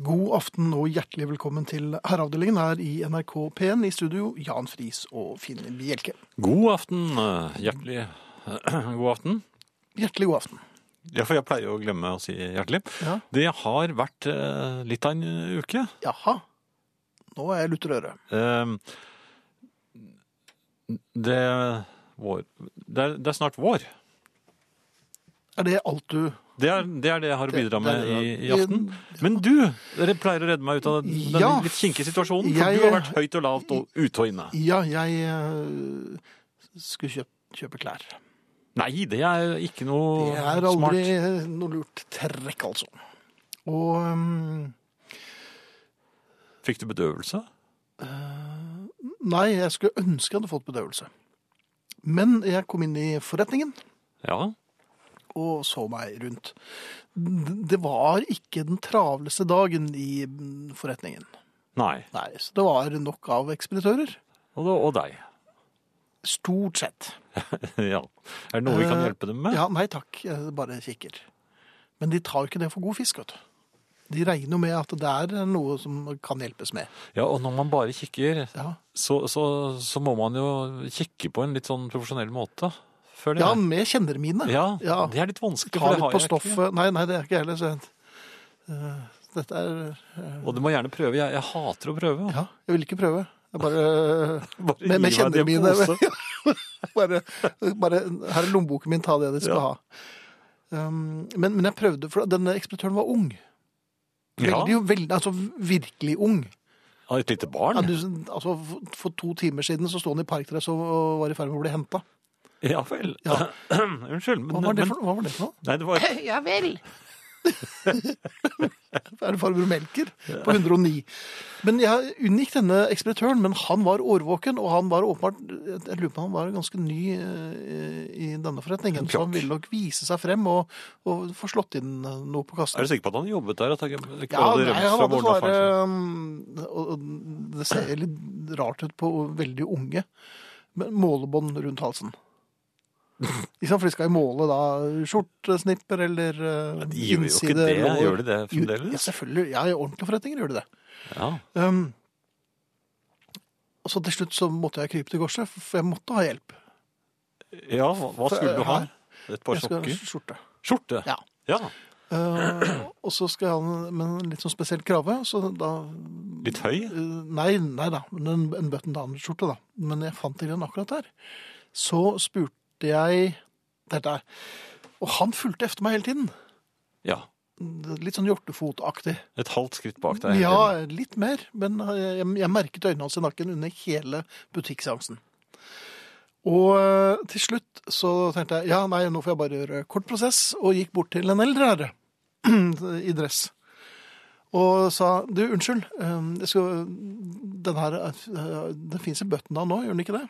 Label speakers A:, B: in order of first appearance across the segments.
A: God aften og hjertelig velkommen til Herreavdelingen her i NRK P1. I studio Jan Friis og Finn Bjelke.
B: God aften. eh, Hjertelig
A: eh,
B: god aften.
A: Hjertelig god aften.
B: Ja, for jeg pleier å glemme å si hjertelig.
A: Ja.
B: Det har vært eh, litt av en uke.
A: Jaha. Nå er jeg lutter øre.
B: Eh, Det, er vår. Det, er, det er snart vår.
A: Er det alt du
B: Det er, det er det jeg har å
A: Det-
B: bidra
A: det er
B: med
A: det
B: i,
A: jeg-
B: i aften. Men du dere pleier å redde meg ut av den
A: Ja.
B: litt kinkige situasjonen. For
A: Jeg-
B: du har vært høyt og lavt og ute og inne.
A: Ja, jeg eh, skulle kjøpe, kjøpe klær.
B: Nei, det er ikke noe
A: Det er aldri
B: smart.
A: noe lurt trekk, altså. Og ehm,
B: Fikk du bedøvelse?
A: Nei, jeg skulle ønske jeg hadde fått bedøvelse. Men jeg kom inn i forretningen.
B: Ja.
A: og så meg rundt. Det var ikke den travleste dagen i forretningen.
B: Nei.
A: Nei, så det var nok av ekspeditører.
B: Og, og deg.
A: Stort sett.
B: ja. Er det noe vi kan
A: Eh,
B: hjelpe dem med?
A: Ja, nei takk, jeg bare kikker. Men de tar jo ikke det for god fisk, vet du. De regner jo med at det er noe som kan hjelpes med.
B: Ja, og når man bare kikker,
A: Ja,
B: så, så, så må man jo kikke på en litt sånn profesjonell måte, føler
A: ja
B: jeg.
A: med kjennermine.
B: Ja,
A: Ja.
B: det er litt vanskelig,
A: Ta
B: for det
A: litt
B: har
A: på
B: jeg ikke.
A: stoffet. Nei, nei, det er ikke jeg heller. Så. eh, Dette er
B: Og du må gjerne prøve. Jeg, jeg hater å prøve.
A: Ja, jeg vil ikke prøve. Jeg bare
B: Bare
A: Med, med
B: gi meg
A: kjennene
B: det
A: mine.
B: pose.
A: bare, bare, her er lommeboken min, ta det de skal
B: Ja.
A: ha. Um, men, men jeg prøvde, for denne ekspeditøren var ung.
B: Ja,
A: Veldig, veldig, altså virkelig ung.
B: av et lite
A: Ja,
B: barn.
A: du, altså, for- for to timer siden så sto han i parkdress og- og var i ferd med å bli henta.
B: Ja vel.
A: Ja.
B: Unnskyld. Men,
A: Hva, var det
B: men-
A: for- hva var det for noe?
B: Nei, det var
A: Ja vel! er det farbror Melker på 109? Men jeg unngikk denne ekspeditøren, men han var årvåken, og han var åpenbart Jeg lurer på om han var ganske ny eh, i denne forretningen, så han
B: Klart.
A: ville nok vise seg frem og, og få slått inn eh, noe på
B: Er
A: kassen.
B: du sikker på at han jobbet der? At han ikke
A: Ja,
B: hadde
A: nei,
B: rømt
A: han
B: fra
A: hadde
B: moren og
A: bare
B: faren sin?
A: um, og- og Det ser litt rart ut på veldig unge. Men målebånd rundt halsen. Ikke sant, for de skal jo måle da skjortesnipper eller uh,
B: De gjør jo ikke
A: innside
B: det.
A: lår.
B: Gjør de det
A: Jo, Ja,
B: fremdeles?
A: selvfølgelig. Ja, I ordentlige forretninger gjør de det.
B: Ja.
A: Um, og så til slutt så måtte jeg krype til korset, for jeg måtte ha hjelp.
B: ja, hva hva skulle du ha?
A: øh, Her.
B: Et par
A: jeg skal ha
B: sokker?
A: skjorte.
B: Skjorte?
A: Ja.
B: Ja.
A: Uh, og så skal jeg ha den med en litt sånn spesiell krave, så da
B: Litt høy?
A: Eh, Nei, nei da, men en, en button down-skjorte da. Men jeg fant ikke den akkurat der. Så spurte jeg dette er- Og han fulgte efter meg hele tiden.
B: Ja.
A: Litt sånn hjortefotaktig.
B: Et halvt skritt bak deg. hele tiden.
A: Ja, litt mer, men eh, jeg, jeg merket øynene hans i nakken under hele butikkseansen. Og eh, til slutt så tenkte jeg ja, nei, nå får jeg bare gjøre kort prosess, og gikk bort til en eldre herre i dress. Og sa du, unnskyld, eh, jeg skal, den her eh, den fins i bøtten da nå, gjør den ikke det?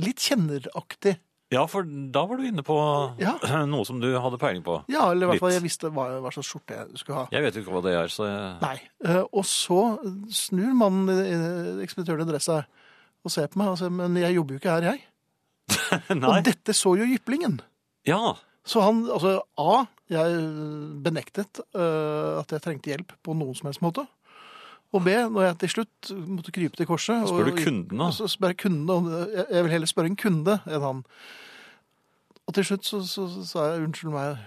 A: Litt kjenneraktig.
B: Ja, for da var du inne på
A: Ja.
B: noe som du hadde peiling på.
A: Ja, eller i hvert fall
B: Litt.
A: jeg visste hva, hva slags skjorte jeg skulle ha.
B: Jeg vet jo ikke hva det er, så jeg...
A: Nei. Eh, Og så snur mannen, eh, ekspeditøren i dressa, og ser på meg og sier men jeg jobber jo ikke her, jeg. Og dette så jo jyplingen.
B: Ja,
A: Så han altså A. Jeg benektet eh, at jeg trengte hjelp på noen som helst måte. Og B. Når jeg til slutt måtte krype til korset
B: spør
A: og- altså,
B: du kundene?
A: og så spør jeg kundene, om det- jeg- jeg vil heller spørre en kunde enn han. Og til slutt så så- så sa jeg unnskyld meg.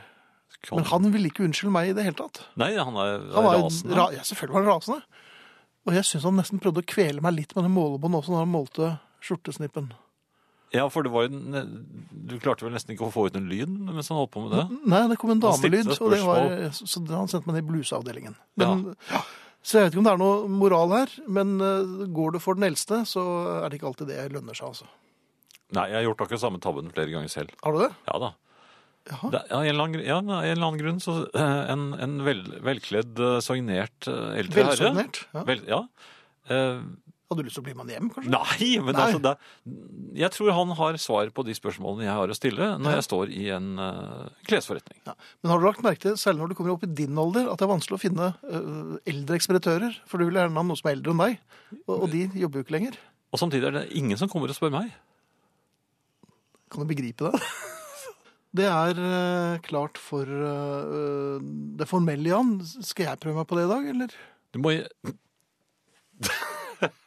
A: Men han ville ikke unnskylde meg i det hele tatt.
B: Nei, han er,
A: Han var
B: rasende.
A: Ra ja, selvfølgelig var han rasende. Og jeg syns han nesten prøvde å kvele meg litt med den målebånd også når han målte skjortesnippen.
B: Ja, for det var jo... en- Du klarte vel nesten ikke å få ut en lyd mens han holdt på med det?
A: Nei, det kom en
B: Han stilte
A: damelyd,
B: deg
A: og det var,
B: spørsmål.
A: så så han sendte meg ned i bluseavdelingen. Men, ja. Så jeg vet ikke om det er noe moral her, men eh, går det for den eldste, så er det ikke alltid det lønner seg, altså.
B: Nei, jeg har gjort akkurat samme tabben flere ganger selv.
A: Har du det?
B: Ja da.
A: Jaha.
B: Det, av en eller annen, gr- ja, av en eller annen grunn så eh, en, en vel, velkledd, eh, soignert eh, eldre herre...
A: Velsognert. Ja.
B: Vel, ja. Eh,
A: Hadde du lyst til å bli med han hjem, kanskje?
B: Nei, men
A: Nei.
B: altså det, Jeg tror han har svar på de spørsmålene jeg har å stille når
A: Ja.
B: jeg står i en eh, klesforretning.
A: Ja. Men har du lagt merke til, særlig når du kommer opp i din alder, at det er vanskelig å finne eh, eldre ekspeditører? For du vil gjerne ha noen som er eldre enn deg, og, og de jobber jo ikke lenger.
B: Og samtidig er det ingen som kommer og spør meg.
A: Kan du begripe det? Det er eh, klart for eh, det formelle, Jan. Skal jeg prøve meg på det i dag, eller?
B: Du må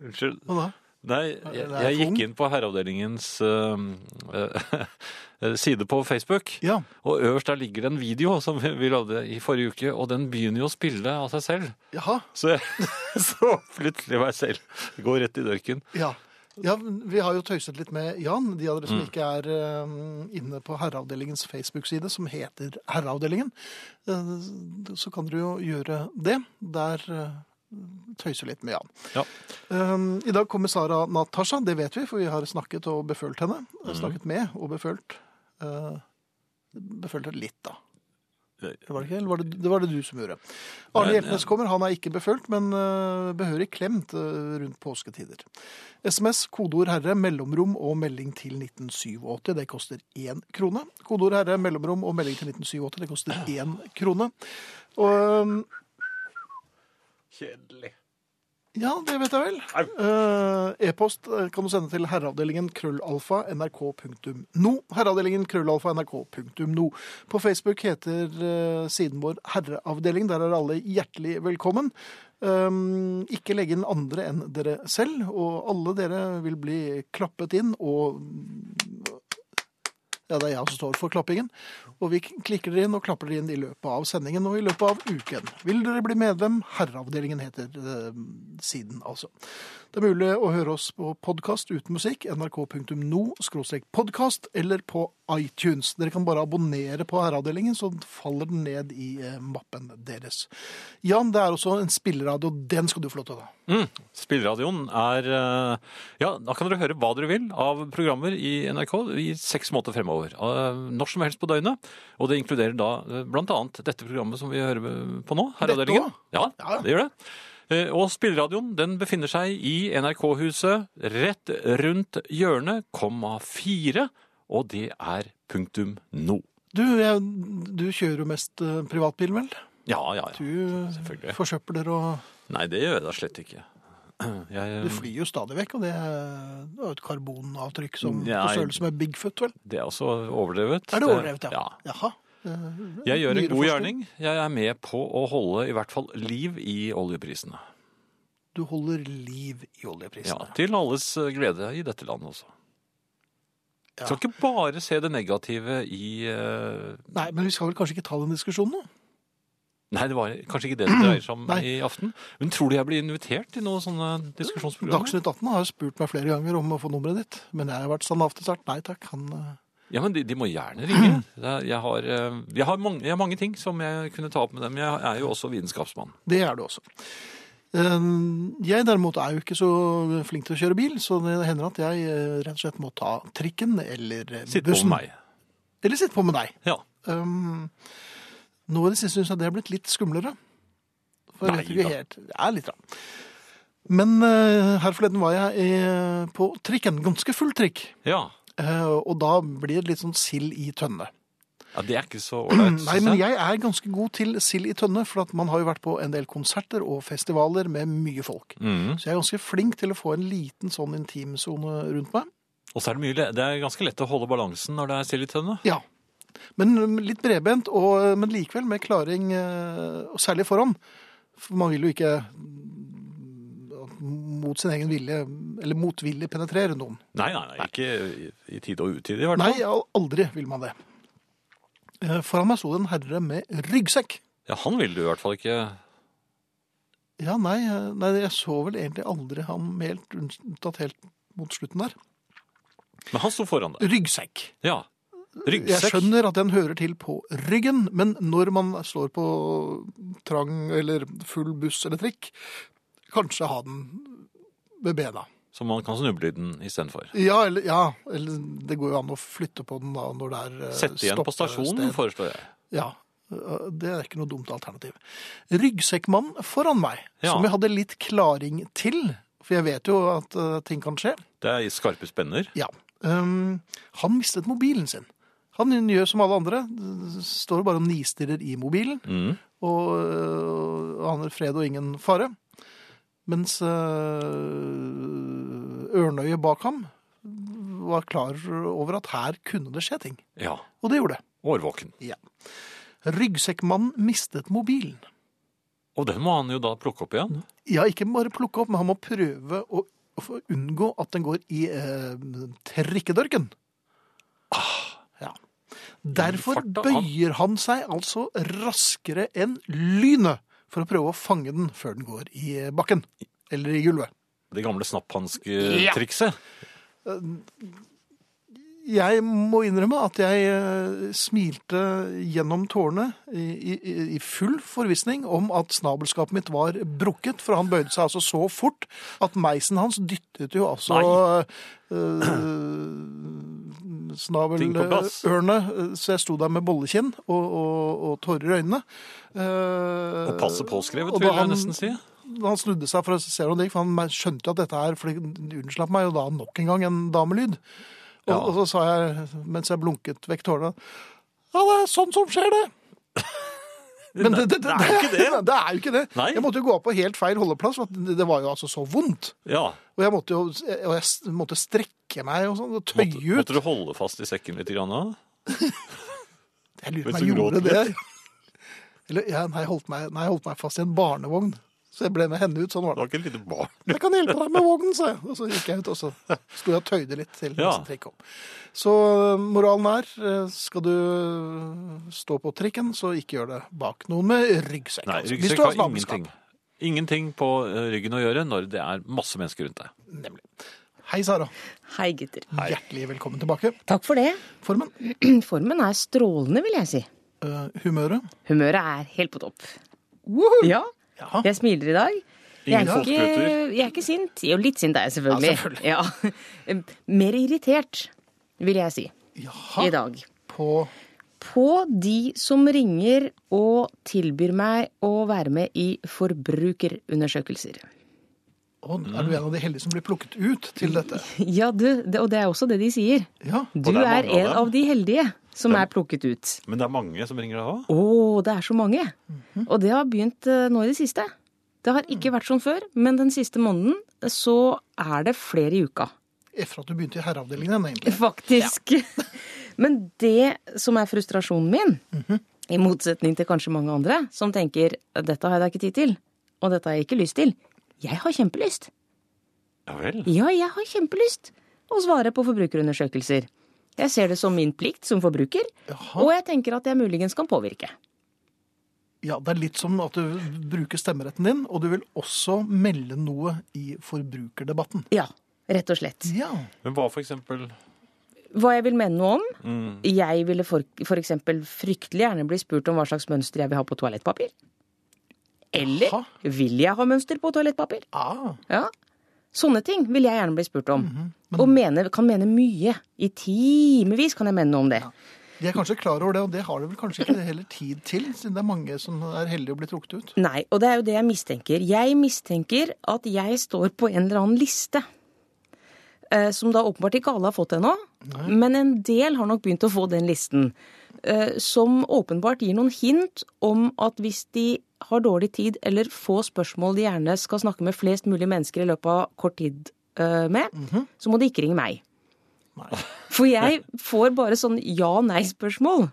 B: Unnskyld.
A: Hva da?
B: Nei,
A: Er
B: jeg,
A: det
B: jeg
A: iPhone?
B: gikk inn på Herreavdelingens eh, eh, side på Facebook,
A: Ja.
B: og øverst der ligger det en video som vi, vi lagde i forrige uke, og den begynner jo å spille av seg selv.
A: Jaha.
B: Så jeg så plutselig meg selv gå rett i dørken.
A: Ja. ja. Vi har jo tøyset litt med Jan, de av dere som ikke er eh, inne på Herreavdelingens Facebook-side, som heter Herreavdelingen. Eh, så kan dere jo gjøre det. Der eh, tøyser litt med Jan.
B: Ja.
A: Eh, I dag kommer Sara Natasha, det vet vi, for vi har snakket og befølt henne. Snakket med og befølt. eh, befølt henne litt, da. Det var det ikke, eller var det, det var det du som gjorde. Arne
B: Nei,
A: Hjeltnes kommer, han er ikke befølt, men eh, behørig klemt eh, rundt påsketider. SMS, kodeord herre, mellomrom og melding til 1987. Det koster én krone. Kodeord herre, mellomrom og melding til 1987. Det koster én krone. Og eh,
B: Kjedelig.
A: ja, det vet jeg vel.
B: Au.
A: Eh, E-post eh, kan du sende til herreavdelingen krøllalfa nrk.no. Herreavdelingen krøllalfa nrk.no. På Facebook heter eh, siden vår Herreavdeling. Der er alle hjertelig velkommen. Um, ikke legge inn andre enn dere selv, og alle dere vil bli klappet inn og ja, det er jeg som står for klappingen. Og vi klikker dere inn og klapper dere inn i løpet av sendingen og i løpet av uken. Vil dere bli medlem? Herreavdelingen heter eh, siden, altså. Det er mulig å høre oss på podkast uten musikk, nrk.no-podkast, eller på iTunes. Dere kan bare abonnere på Herreavdelingen, så faller den ned i eh, mappen deres. Jan, det er også en spilleradio. Den skal du få lov til å ta.
B: Mm. Spilleradioen er eh, Ja, da kan dere høre hva dere vil av programmer i NRK i seks måneder fremover. Eh, Når som helst på døgnet. Og det inkluderer da eh, blant annet dette programmet som vi hører på nå. Herreavdelingen.
A: Dette
B: Ja,
A: Ja, ja.
B: det gjør det. Eh, Og spilleradioen den befinner seg i NRK-huset rett rundt hjørnet, komma fire, og det er punktum nå.
A: Du, jeg, du kjører jo mest eh, privatbil, vel?
B: Ja, ja, ja.
A: Du
B: Selvfølgelig.
A: forsøpler og
B: Nei, det gjør jeg da slett ikke. Jeg,
A: Du flyr jo stadig vekk, og det er det er jo et karbonavtrykk som
B: Nei.
A: på størrelse med Bigfoot, vel?
B: det er også overdrevet.
A: Er det overdrevet, ja?
B: ja.
A: Jaha.
B: Jeg gjør en
A: Nyere
B: god
A: forskning.
B: gjerning. Jeg er med på å holde i hvert fall liv i oljeprisene.
A: Du holder liv i
B: Ja,
A: oljeprisene.
B: til alles eh, glede i dette landet også.
A: Ja.
B: Skal ikke bare se det negative i eh,
A: Nei, men vi skal vel kanskje ikke ta den diskusjonen nå?
B: Nei, det var kanskje ikke det det dreier seg om
A: Nei.
B: i aften. Men tror du jeg blir invitert til noen sånne diskusjonsprogrammer?
A: Dagsnytt 18 har jo spurt meg flere ganger om å få nummeret ditt, men jeg har vært sånn avtesart. Nei takk, han eh,
B: Ja, men de, de må gjerne ringe. Det er- Jeg har, eh, jeg, har mange, jeg har mange ting som jeg kunne ta opp med dem. Jeg er jo også vitenskapsmann.
A: Det er du også. Eh, Jeg derimot er jo ikke så flink til å kjøre bil, så det hender at jeg eh, rett og slett må ta trikken eller eh, bussen.
B: Sitt på med meg.
A: Eller sitte på med deg.
B: Ja.
A: Um, nå i det siste syns jeg det har blitt litt skumlere. For jeg vet ikke
B: Neida.
A: helt Det er litt rann. Men eh, her forleden var jeg eh, på trikken. Ganske full trikk.
B: ja.
A: Eh, og da blir det litt sånn sild i tønne.
B: Ja, Det er ikke så ålreit.
A: Nei,
B: synes
A: men jeg er ganske god til sild i tønne, for at man har jo vært på en del konserter og festivaler med mye folk.
B: Mhm.
A: Så jeg er ganske flink til å få en liten sånn intimsone rundt meg.
B: Og så er det mye, le- det er ganske lett å holde balansen når det er sild i tønne.
A: Ja. Men um, litt bredbent, og, eh, men likevel med klaring, eh, og særlig foran. For man vil jo ikke mm, mot sin egen vilje, eller motvillig penetrere noen.
B: Nei, nei, nei, ikke i- i tide og utide i hvert
A: Nei,
B: fall.
A: al- aldri vil man det. Eh, Foran meg sto det en herre med ryggsekk.
B: Ja, han ville du i hvert fall ikke.
A: Ja, nei, eh, nei, jeg så vel egentlig aldri ham helt, unntatt helt mot slutten der.
B: Men han sto foran deg.
A: Ryggsekk.
B: Ja.
A: Jeg
B: Ryggsekk.
A: skjønner at den hører til på ryggen, men når man står på trang eller full buss eller trikk, kanskje ha den ved bena.
B: Så man kan snuble i den istedenfor.
A: Ja, eller, ja, eller det går jo an å flytte på den da når det er eh,
B: Sette igjen på stasjonen,
A: stoppested.
B: foreslår jeg.
A: Ja, eh, det er ikke noe dumt alternativ. Ryggsekkmann foran meg,
B: Ja.
A: som jeg hadde litt klaring til, for jeg vet jo at eh, ting kan skje.
B: Det er i skarpe spenner.
A: Ja. Ehm, han mistet mobilen sin. Han gjør som alle andre. Står bare og nistirrer i mobilen.
B: Mhm.
A: Og øh, aner fred og ingen fare. Mens øh, ørnøyet bak ham var klar over at her kunne det skje ting.
B: Ja.
A: Og det gjorde det.
B: Årvåken.
A: Ryggsekkmannen mistet mobilen.
B: Og den må han jo da plukke opp igjen.
A: Ja, ikke bare plukke opp, men han må prøve å å få- unngå at den går i eh, trikkedørken. Ja. Derfor
B: Farta, han-
A: bøyer han seg altså raskere enn lynet for å prøve å fange den før den går i bakken. Eller i gulvet.
B: Det gamle snapphanske-trikset.
A: Jeg må innrømme at jeg eh, smilte gjennom tårene i, i, i full forvissning om at snabelskapet mitt var brukket, for han bøyde seg altså så fort at meisen hans dyttet jo altså eh,
B: Ting på plass.
A: snabelørene, eh, så jeg sto der med bollekinn og, og, og tårer i øynene. Eh,
B: Og passet påskrevet,
A: og da
B: vil jeg
A: han-
B: nesten si.
A: han snudde seg for å se hvordan det gikk, for han skjønte jo at dette her for det unnslapp meg jo da nok en gang en damelyd. Og,
B: Ja.
A: og så sa jeg, mens jeg blunket vekk tårene, ja, det er sånn som skjer det. Men det, det, det,
B: Nei, det er ikke det.
A: det er jo ikke det.
B: Nei.
A: Jeg måtte jo gå av på helt feil holdeplass, for at det, det var jo altså så vondt.
B: Ja.
A: Og jeg måtte jo og jeg s- måtte strekke meg og sånn, og tøye
B: Måtte,
A: ut.
B: måtte du holde fast i sekken litt? Grann, da?
A: Jeg lurer på
B: Mens
A: om jeg
B: du
A: gjorde
B: gråt
A: det. Eller, ja, nei, jeg holdt meg, nei, jeg holdt meg fast i en barnevogn. Så jeg ble med henne ut, sånn var det.
B: Det var ikke et lite barn.
A: Jeg kan hjelpe deg med vognen, sa jeg. Og så gikk jeg ut, og så sto jeg og tøyde litt til
B: Ja.
A: neste trikk kom. Så moralen er, eh, skal du eh, stå på trikken, så ikke gjør det bak noen med ryggsekk.
B: Nei,
A: altså. Hvis
B: ryggsekk
A: du har
B: har
A: snabelskap,
B: ingenting. Ingenting på eh, ryggen å gjøre når det er masse mennesker rundt deg.
A: Nemlig. Hei, Sara.
C: Hei, gutter.
A: Hjertelig velkommen tilbake.
C: Takk for det.
A: Formen,
C: Formen er strålende, vil jeg si.
A: eh, humøret.
C: Humøret er helt på topp.
A: Woohoo!
C: Ja,
A: Ja.
C: jeg smiler i dag. Jeg
B: Ingen
C: er, ikke,
B: folkegutter.
C: jeg er ikke sint. Jo, litt sint er jeg selvfølgelig.
A: Ja, selvfølgelig.
C: Ja. Mer irritert, vil jeg si, i
A: Jaha.
C: dag.
A: På
C: På de som ringer og tilbyr meg å være med i forbrukerundersøkelser.
A: Å, er
B: Mm.
A: du en av de heldige som blir plukket ut til dette?
C: Ja, du, det, og det er også det de sier.
A: Ja.
C: Du
B: det er
C: er
B: mange av
C: en
B: dem.
C: av de heldige som er plukket ut.
B: Men det er mange som ringer deg òg?
C: Å, det er så mange! Og det har begynt eh, nå i det siste. Det har ikke vært sånn før, men den siste måneden eh, så er det flere i uka,
A: Etter at du begynte i herreavdelingen, egentlig.
C: faktisk. Men det som er frustrasjonen min, i motsetning til kanskje mange andre, som tenker dette har jeg da ikke tid til, og dette har jeg ikke lyst til. Jeg har kjempelyst.
B: Ja vel.
C: Ja, jeg har kjempelyst å svare på forbrukerundersøkelser. Jeg ser det som min plikt som forbruker,
A: Jaha.
C: og jeg tenker at jeg muligens kan påvirke.
A: Ja, det er litt som at du bruker stemmeretten din, og du vil også melde noe i forbrukerdebatten.
C: Ja, rett og slett.
A: Ja.
B: Men hva for eksempel? mm,
C: hva jeg vil mene noe om. Jeg ville for, for eksempel fryktelig gjerne bli spurt om hva slags mønster jeg vil ha på toalettpapir. Eller
A: Jaha.
C: vil jeg ha mønster på toalettpapir?
A: Ah,
C: Ja. Sånne ting vil jeg gjerne bli spurt om. Og mene, kan mene mye. I timevis kan jeg mene noe om det.
A: de er kanskje klar over det, og det har de vel kanskje ikke heller tid til, siden det er mange som er heldige å bli trukket ut.
C: Nei, og det er jo det jeg mistenker. Jeg mistenker at jeg står på en eller annen liste. eh, Som da åpenbart ikke alle har fått ennå, men en del har nok begynt å få den listen. eh, Som åpenbart gir noen hint om at hvis de har dårlig tid eller få spørsmål de gjerne skal snakke med flest mulig mennesker i løpet av kort tid eh, med, så må de ikke ringe meg. For jeg får bare sånn ja-nei-spørsmål.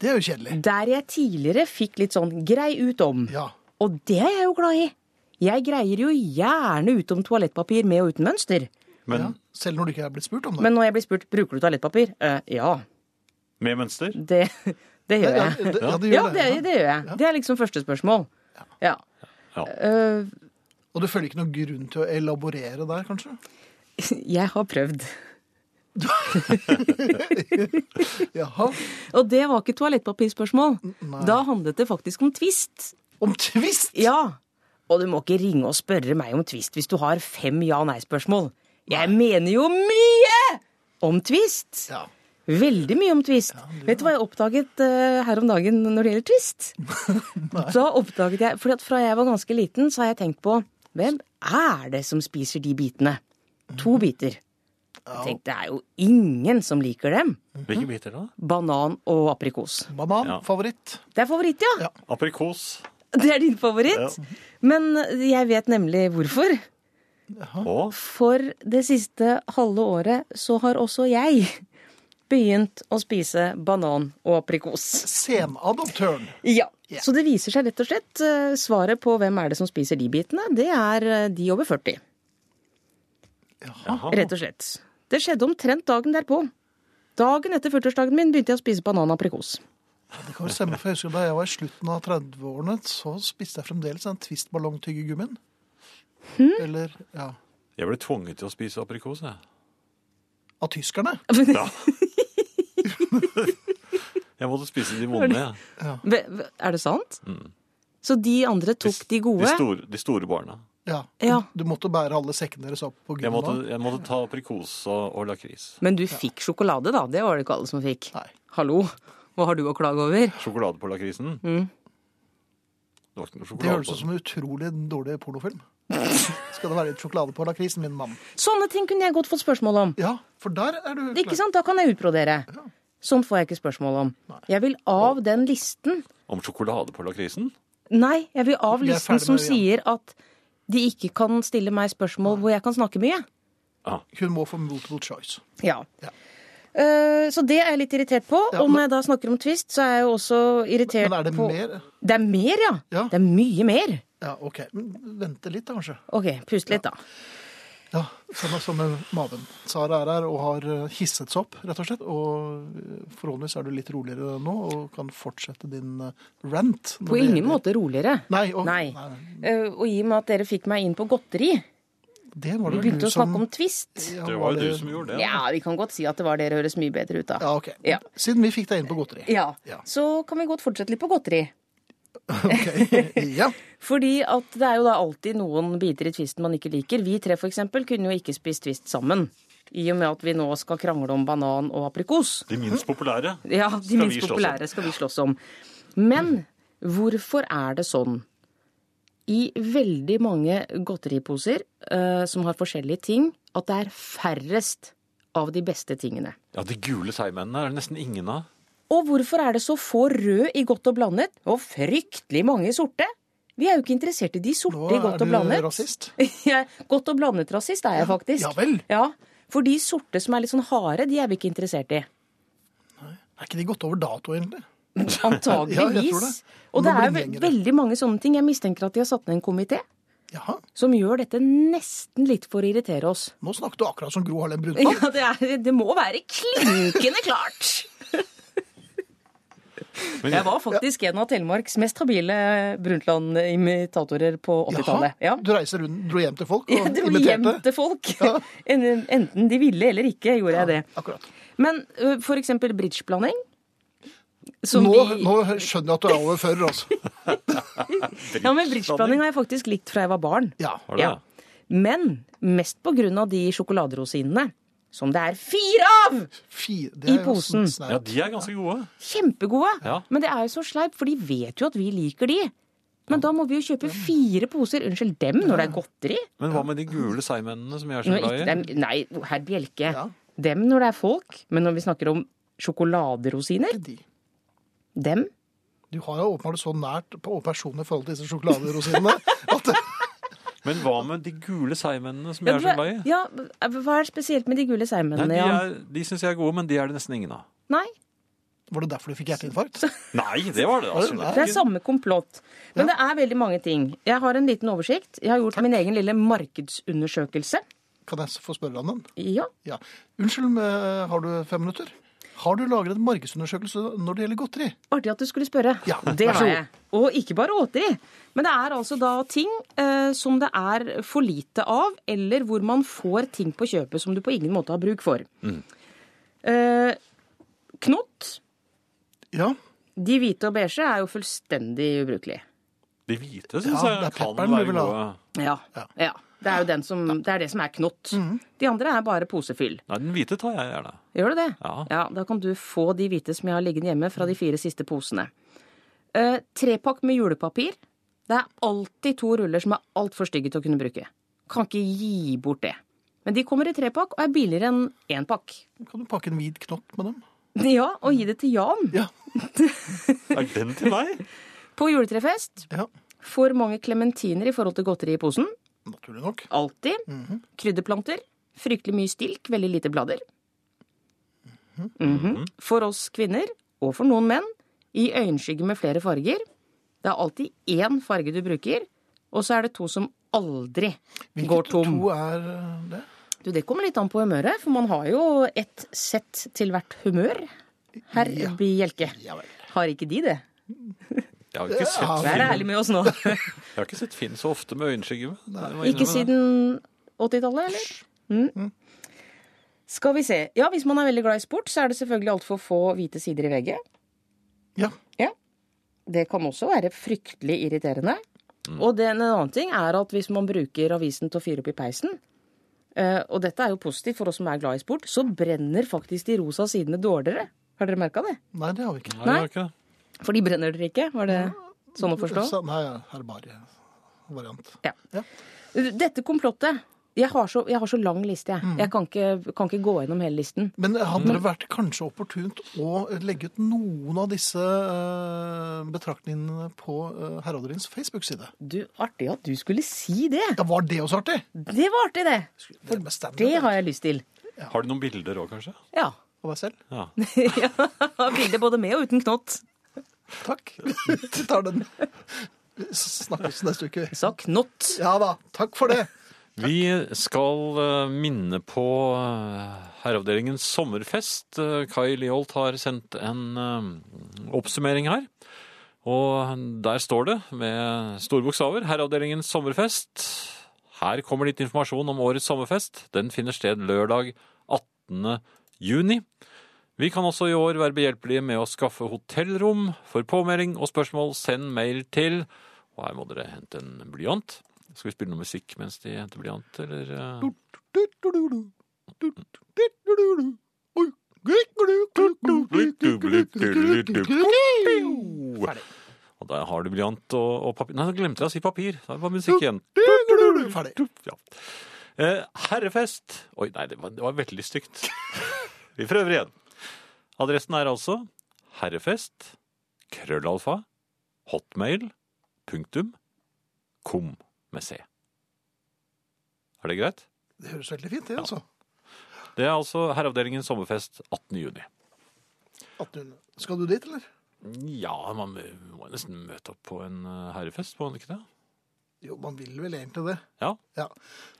A: Det er jo kjedelig.
C: Der jeg tidligere fikk litt sånn grei ut om.
A: Ja.
C: Og det er jeg jo glad i. Jeg greier jo gjerne ut om toalettpapir med og uten mønster.
B: Men
A: ja. Selv når du ikke er blitt spurt om det.
C: Men når jeg blir spurt bruker du toalettpapir, Eh, ja,
B: med mønster?
C: det, det gjør
A: ja,
C: jeg.
A: det, ja, det gjør
C: Ja, det,
A: det.
C: det gjør jeg. Det er liksom første spørsmål. Ja.
B: Ja.
C: Eh,
A: Og du føler ikke noen grunn til å elaborere der, kanskje?
C: jeg har prøvd.
A: Jaha.
C: Og det var ikke toalettpapirspørsmål.
A: nei.
C: Da handlet det faktisk om Twist.
A: Om tvist!
C: Ja. Og du må ikke ringe og spørre meg om Twist hvis du har fem ja-nei-spørsmål. Jeg mener jo mye om Twist.
A: Ja.
C: Veldig mye om twist. Vet du hva jeg oppdaget eh, her om dagen når det gjelder twist? da oppdaget jeg, fordi at Fra jeg var ganske liten, så har jeg tenkt på hvem er det som spiser de bitene? To biter. Jeg tenkte, Det er jo ingen som liker dem.
B: Mm-hmm. Hvilke biter da?
C: Banan og aprikos.
A: Banan,
B: Ja.
A: favoritt.
C: Det er favoritt, ja.
A: Ja.
B: Aprikos.
C: Det er din favoritt. Men jeg vet nemlig hvorfor.
B: Og
C: For det siste halve året så har også jeg begynt å spise banan og aprikos.
A: Senadoptøren.
C: Ja.
A: Ja.
C: Så det viser seg rett og slett eh, svaret på hvem er det som spiser de bitene, det er eh, de over 40.
B: Jaha.
C: Rett og slett. Det skjedde omtrent dagen derpå. Dagen etter 40-årsdagen min begynte jeg å spise banan og aprikos.
A: Det kan vel stemme, for jeg husker Da jeg var i slutten av 30-årene, så spiste jeg fremdeles den Twist-ballongtyggegummien.
C: Hm?
A: Eller ja,
B: Jeg ble tvunget til å spise aprikos, jeg.
A: av tyskerne.
B: Jeg måtte spise de vonde. jeg.
C: Ve- ve- Er det sant? Så de andre tok de gode?
B: De store, de store barna.
A: Ja.
C: Ja.
A: Du måtte bære alle sekkene deres opp på
B: Jeg måtte,
A: gymmen.
B: jeg måtte ta aprikos og, og lakris.
C: Men du fikk sjokolade, da. Det var det ikke alle som fikk.
A: Nei.
C: Hallo, hva har du å klage over?
B: Sjokolade på lakrisen?
C: Mm.
B: Det var ikke noe
A: Det
B: sjokolade
A: høres
B: på
A: ut
B: den.
A: som en utrolig dårlig pornofilm. Skal det være litt sjokolade på lakrisen, min mann?
C: Sånne ting kunne jeg godt fått spørsmål om.
A: Ja, for der er du
C: Ikke sant? Da kan jeg utbrodere. Sånt får jeg ikke spørsmål om. Jeg vil av den listen
B: Om sjokolade på lakrisen?
C: Nei, jeg vil av
A: Vi er
C: listen
A: ferdig
C: som
A: med det
C: sier at de ikke kan stille meg spørsmål hvor jeg kan snakke mye.
B: Ah,
A: Hun må få multiple choice.
C: Ja.
A: Ja.
C: Eh, Så det er jeg litt irritert på.
A: Ja,
C: Og
A: men-
C: når jeg da snakker om Twist, så er jeg jo også irritert
A: Men er det
C: på
A: mer?
C: Det er mer, ja.
A: Ja.
C: Det er mye mer.
A: Ja, OK. Men Vente litt, da, kanskje.
C: OK, pust litt, da.
A: Ja, Sånn er sånn med maven. Sara er her og har eh, hisset seg opp, rett og slett. Og eh, forhåpentligvis er du litt roligere nå og kan fortsette din eh, rant. når
C: På
A: det
C: ingen
A: gjelder-
C: måte roligere.
A: Nei, og,
C: Nei. Eh, Og i og med at dere fikk meg inn på godteri,
A: Det var det
C: begynte
A: du
C: å
A: som
C: snakke om Twist.
A: Mm, sånn. Ja,
B: Det var jo du som gjorde det.
C: Ja, vi kan godt si at det var dere høres mye bedre ut
A: Ja,
C: av.
A: OK.
C: Ja.
A: Siden vi fikk deg inn på godteri.
C: Ja.
A: Ja.
C: Så kan vi godt fortsette litt på godteri.
A: ja.
C: Fordi at det er jo da alltid noen biter i tvisten man ikke liker. Vi tre for eksempel kunne jo ikke spist tvist sammen. I og med at vi nå skal krangle om banan og aprikos.
B: De minst populære?
C: Ja, de
B: Skal vi
C: minst
B: slåss om?
C: populære skal vi slåss om. Men hvorfor er det sånn? I veldig mange godteriposer eh, som har forskjellige ting, at det er færrest av de beste tingene.
B: Ja, De gule seigmennene er det nesten ingen av.
C: Og hvorfor er det så få rød i godt og blandet, og fryktelig mange i sorte? Vi er jo ikke interessert i de
A: Nå
C: sorte i
A: er
C: godt
A: du
C: og blandet.
A: rasist.
C: Jeg- Godt og blandet rasist er jeg faktisk.
A: ja vel.
C: Ja, For de sorte som er litt sånn harde, de er vi ikke interessert i.
A: Er ikke de gått over dato, egentlig? Ja, jeg tror
C: Antageligvis.
A: det. Nå
C: Og det
A: blir
C: er
A: det
C: ve-
A: gjengere.
C: veldig mange sånne ting. Jeg mistenker at de har satt ned en komité
A: Jaha.
C: som gjør dette nesten litt for å irritere oss. Sånn.
A: Nå snakket du akkurat som Gro Harlem Brundtland.
C: Ja, det, er, det må være klinkende klart!
B: Men
C: Jeg var faktisk en av Telemarks mest habile Brundtland-imitatorer på 80-tallet. Ja.
A: Du reiser rundt, dro hjem til folk og
C: Jeg dro hjem
A: imiterte?
C: til folk.
A: Ja.
C: En- Enten de ville eller ikke, gjorde jeg det.
A: Akkurat.
C: Men ø, for eksempel bridgeblanding. som
A: Nå,
C: vi-
A: nå skjønner jeg at du er overfører, altså.
C: Ja, men bridgeblanding har jeg faktisk likt fra jeg var barn.
A: Ja.
B: Har du det?
C: Ja. Men mest på grunn av de sjokoladerosinene. Som det er fire av!
A: Fy, det er
C: I
A: jo
C: posen.
A: sånn snær.
B: Ja, de er ganske gode.
C: Kjempegode.
B: Ja.
C: Men det er jo så sleipt, for de vet jo at vi liker de. Men da må vi jo kjøpe fire poser. Unnskyld, dem når det er godteri?
B: Men hva med de gule seigmennene som jeg er så
C: Når ikke
B: glad i?
C: dem, nei, herr Bjelke.
A: Ja.
C: Dem når det er folk. Men når vi snakker om sjokoladerosiner,
A: De.
C: dem
A: Du har jo åpenbart så nært på og personlig forhold til disse sjokoladerosinene at
B: Men hva med de gule seigmennene som jeg
C: ja,
B: er så glad i?
C: ja, Hva er det spesielt med de gule
B: Nei,
C: seigmennene,
B: De,
C: Jan?
B: er- de syns jeg er gode, men de er det nesten ingen av.
C: Nei,
A: Var det derfor du fikk hjerteinfarkt?
B: Nei, det var det altså.
C: det er samme komplott. Men det er veldig mange ting. Jeg har en liten oversikt. Jeg har gjort min egen lille markedsundersøkelse.
A: Kan jeg få spørre deg om den?
C: Ja.
A: Ja. Unnskyld, men eh, har du fem minutter? Har du lagret en markedsundersøkelse når det gjelder godteri?
C: Artig at du skulle spørre.
A: Ja,
C: det
A: vær så
C: har
A: god.
C: jeg. Og ikke bare återi. Men det er altså da ting eh, som det er for lite av, eller hvor man får ting på kjøpet som du på ingen måte har bruk for.
A: Mm.
C: Eh, knott,
A: Ja.
C: de hvite og beige, er jo fullstendig ubrukelige.
B: De hvite syns
A: Ja, det er
B: jeg kan
A: pepperen vi
B: være
A: vil ha.
B: gode.
C: Ja. ja. Det er jo den som, det, er det som er knott.
A: Mm.
C: De andre er bare posefyll.
B: Nei, den hvite tar jeg gjerne.
C: Gjør du det?
B: Ja.
C: Da kan du få de hvite som jeg har liggende hjemme fra de fire siste posene. Eh, trepakk med julepapir. Det er alltid to ruller som er altfor stygge til å kunne bruke. Kan ikke gi bort det. Men de kommer i trepakk og er billigere enn énpakk.
A: Kan du pakke en hvit knott med dem?
C: Ja, og gi det til Jan
A: Ja.
B: Er den til meg?
C: på juletrefest.
A: ja.
C: For mange klementiner i forhold til godteri i posen.
A: Naturlig nok. Mhm.
C: Alltid. Krydderplanter. Fryktelig mye stilk, veldig lite blader. Mhm. For oss kvinner, og for noen menn, i øyenskygge med flere farger. Det er alltid én farge du bruker, og så er det to som aldri går
A: Hvilke
C: tom.
A: to er eh, det?
C: Du, Det kommer litt an på humøret, for man har jo et sett til hvert humør. Herr Bjelke.
A: Ja vel.
C: Har ikke de det?
B: Jeg har ikke sett,
A: Ja.
C: Vær ærlig med oss nå.
B: jeg har ikke sett Finn så ofte med øyenskygge. det må jeg innrømme
C: Ikke
B: det.
C: siden 80-tallet, eller? Mm. Skal vi se. Ja, hvis man er veldig glad i sport, så er det selvfølgelig altfor få hvite sider i VG.
A: Ja.
C: Det kan også være fryktelig irriterende. Og det, en annen ting er at hvis man bruker avisen til å fyre opp i peisen, eh, og dette er jo positivt for oss som er glad i sport, så brenner faktisk de rosa sidene dårligere. Har dere merka det?
A: Nei, det har vi ikke.
B: Nei, jeg har ikke det.
C: For de brenner dere ikke, var det sånn å forstå?
A: Så- Nei, herbarievariant.
C: Dette komplottet. Jeg har så, jeg har så lang liste, jeg. Jeg kan ikke, kan ikke gå gjennom hele listen.
A: Men hadde det vært kanskje opportunt å legge ut noen av disse eh, betraktningene på eh, Herreavdelingens Facebook-side?
C: Du, Artig at du skulle si det!
A: Ja, Var det også artig?
C: Det var artig, det!
A: Det er bestemt
C: Det har jeg lyst til.
B: Har du noen bilder òg, kanskje?
C: Ja.
A: av meg selv.
B: Ja.
C: ja. Bilde både med og uten knott.
A: Takk. Vi tar den. Vi snakkes neste uke.
C: Jeg sa knott.
A: Ja da. Takk for det.
B: Vi skal eh, minne på eh, Herreavdelingens sommerfest. Eh, Kai Liholt har sendt en eh, oppsummering her. Og der står det med store bokstaver Herreavdelingens sommerfest. Her kommer litt informasjon om årets sommerfest. Den finner sted lørdag 18. juni. Vi kan også i år være behjelpelige med å skaffe hotellrom. For påmelding og spørsmål, send mail til Og her må dere hente en blyant. Skal vi spille noe musikk mens de henter blyant, eller? eh?
A: Ferdig.
B: Og der har du blyant og, og papir. Nei, nå glemte jeg å si papir. Da var musikk igjen.
A: Ferdig.
B: Ja. Eh, herrefest Oi, nei, det var, det var veldig stygt. Vi prøver igjen. Adressen er altså herrefest, krøllalfa, hotmail, punktum, kom med c. Er det greit?
A: Det høres veldig fint, det,
B: Ja.
A: altså.
B: Det er altså Herreavdelingens sommerfest 18. juni.
A: 1800. Skal du dit, eller?
B: Ja, man må nesten møte opp på en eh, herrefest, må man ikke det?
A: Jo, man vil vel egentlig det.
B: Ja.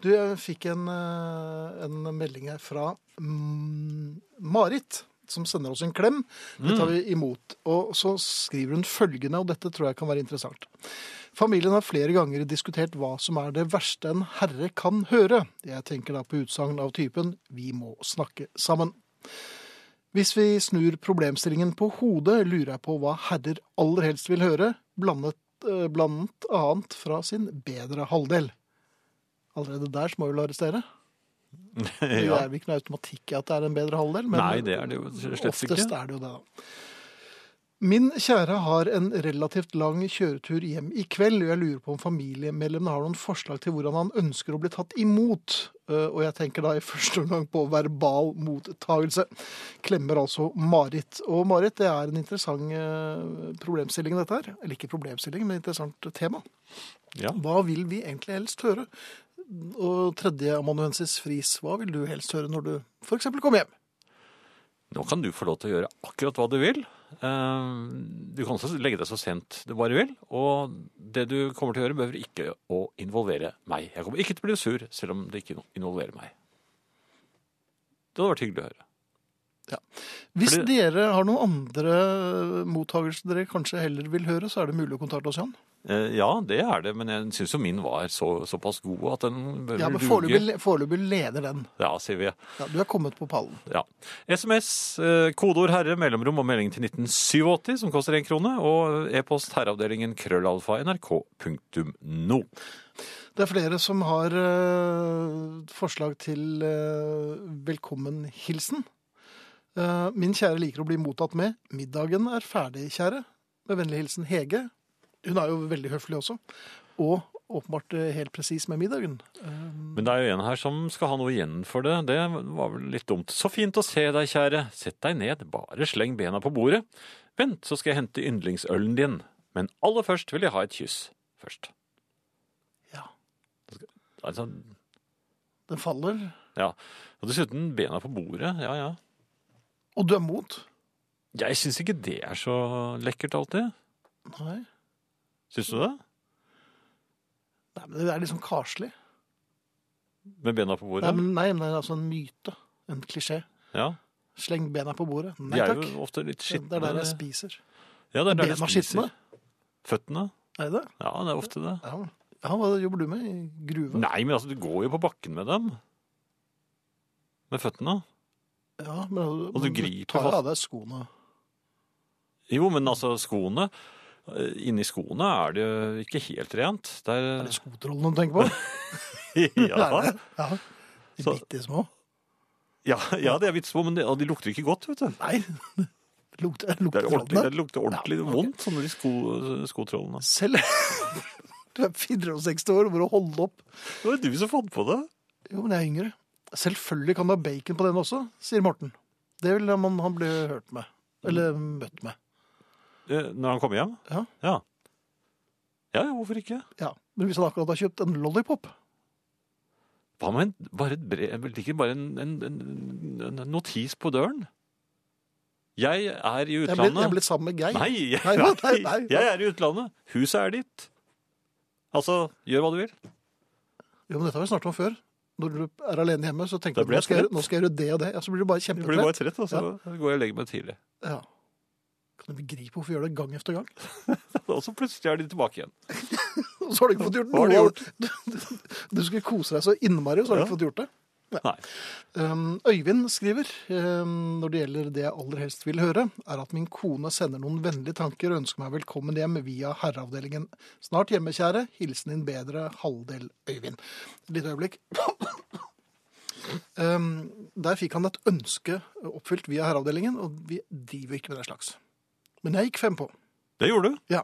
A: Du, jeg fikk en, eh, en melding her fra mm, Marit, som sender oss en klem. Det tar vi imot. Og så skriver hun følgende, og dette tror jeg kan være interessant. Familien har flere ganger diskutert hva som er det verste en herre kan høre. Jeg tenker da på utsagn av typen 'vi må snakke sammen'. Hvis vi snur problemstillingen på hodet, lurer jeg på hva herrer aller helst vil høre, blandet, eh, blant annet fra sin bedre halvdel. Allerede der så må vi vel arrestere. Det
B: ja.
A: er vel ikke noe automatikk i at det er en bedre halvdel, men
B: Nei, det er det jo slett
A: oftest
B: ikke.
A: er det jo det, da. Min kjære har en relativt lang kjøretur hjem i kveld, og jeg lurer på om familiemedlemmene har noen forslag til hvordan han ønsker å bli tatt imot. Eh, Og jeg tenker da i første omgang på verbal mottagelse. Klemmer altså Marit. Og Marit, det er en interessant eh, problemstilling dette her. Eller ikke problemstilling, men interessant tema.
B: Ja.
A: Hva vil vi egentlig helst høre? Og tredje amanuensis Friis, hva vil du helst høre når du f.eks. kommer hjem?
B: Nå kan du få lov til å gjøre akkurat hva du vil. Eh, Du kan også legge deg så sent du bare vil. Og det du kommer til å gjøre, behøver ikke å involvere meg. Jeg kommer ikke til å bli sur, selv om det ikke involverer meg. Det hadde vært hyggelig å høre.
A: Hvis
B: Fordi-
A: dere har noen andre mottagelser dere kanskje heller vil høre, så er det mulig å kontakte oss, Jan.
B: Eh, Ja, det er det, men jeg syns jo min var så, såpass god at den bør
A: Ja, men
B: duge.
A: Foreløpig foreløpig leder den.
B: Ja, sier vi.
A: Ja, du er kommet på pallen.
B: Ja. SMS, eh, kodeord herre, mellomrom og melding til 1987, som koster én krone. Og e-post herreavdelingen krøllalfa nrk.no.
A: Det er flere som har eh, forslag til eh, velkommen-hilsen. Eh, min kjære liker å bli mottatt med 'Middagen er ferdig, kjære'. Med vennlig hilsen Hege. Hun er jo veldig høflig også. Og åpenbart eh, helt presis med middagen.
B: Men det er jo en her som skal ha noe igjen for det. Det var vel litt dumt. Så fint å se deg, kjære. Sett deg ned, bare sleng bena på bordet. Vent, så skal jeg hente yndlingsølen din. Men aller først vil jeg ha et kyss. Først.
A: Ja.
B: Altså,
A: Den faller.
B: ja. Og dessuten bena på bordet. Ja, ja.
A: Og du er mot?
B: Jeg syns ikke det er så lekkert alltid.
A: Nei.
B: Syns du det?
A: Nei, men Det er liksom karslig.
B: Med bena på bordet?
A: Nei, men, nei, men det er altså en myte. En klisjé.
B: ja.
A: Sleng bena på bordet.
B: De
A: Nei
B: er
A: takk.
B: jo eh, ofte litt skitne.
A: Det er der jeg spiser.
B: Ja, det er der de
A: Bena skitne?
B: spiser. Føttene?
A: Er det det?
B: Ja, det er ofte det.
A: Ja. ja, hva jobber du med? I gruve?
B: Nei, men altså, du går jo på bakken med dem. Med føttene.
A: Ja, men, altså,
B: Og du
A: men
B: griper
A: tar
B: fast.
A: av deg skoene.
B: Jo, men altså, skoene eh, Inni skoene er det jo ikke helt rent. Det
A: Er det
B: er,
A: skotrollene du tenker på?
B: ja,
A: Er det? ja. De
B: Så-
A: bitte små?
B: ja, ja, det er vits på, men det, og de lukter ikke godt, vet du.
A: Nei. Lukter,
B: Det,
A: lukter
B: er ordentlig,
A: trollene?
B: det lukter ordentlig
A: Ja, ok.
B: vondt, sånne de sko, skotrollene.
A: Selv Du er 64 år, hvor å holde opp
B: Det var du som fant på det.
A: Jo, men jeg er yngre. Selvfølgelig kan du ha bacon på den også, sier Morten. Det vil man, han bli hørt med. Eller
B: Mm.
A: møtt med.
B: Eh, Når han kommer hjem?
A: Ja.
B: Ja, ja ja, hvorfor ikke?
A: Ja. Men hvis han akkurat har kjøpt en lollipop
B: Hva med en, bare et brev Ligger bare en, en, en, en notis på døren? Jeg er i
A: Jeg ble, jeg
B: utlandet.
A: ble sammen med Geir.
B: Nei, jeg,
A: Nei, hva? Nei, nei, hva?
B: jeg er i utlandet. Huset er ditt. Altså, gjør hva du vil.
A: Jo, men dette har vi snakket om før. Når du er alene hjemme, så tenker
B: Da
A: du
B: blir
A: nå
B: jeg
A: skal, jeg,
B: trett.
A: nå skal jeg gjøre det og det. Ja, så blir du bare
B: Jeg blir bare
A: kjempetrett.
B: trett, og så går jeg og legger meg tidlig.
A: Ja. Kan du begripe hvorfor vi gjør det gang etter gang?
B: Og så plutselig er de tilbake igjen.
A: Og så har du ikke fått gjort
B: Hva har
A: noe.
B: de
A: Du, du- du skulle kose deg så innmari, og så har du ikke fått gjort det.
B: Nei.
A: Um, Øyvind skriver um, når det gjelder det jeg aller helst vil høre, er at min kone sender noen vennlige tanker og ønsker meg velkommen hjem via herreavdelingen. Snart hjemme, kjære. Hilsen din bedre halvdel Øyvind. Litt øyeblikk. Um, der fikk han et ønske oppfylt via herreavdelingen, og vi driver ikke med den slags. Men jeg gikk fem på.
B: Det gjorde du.
A: Ja.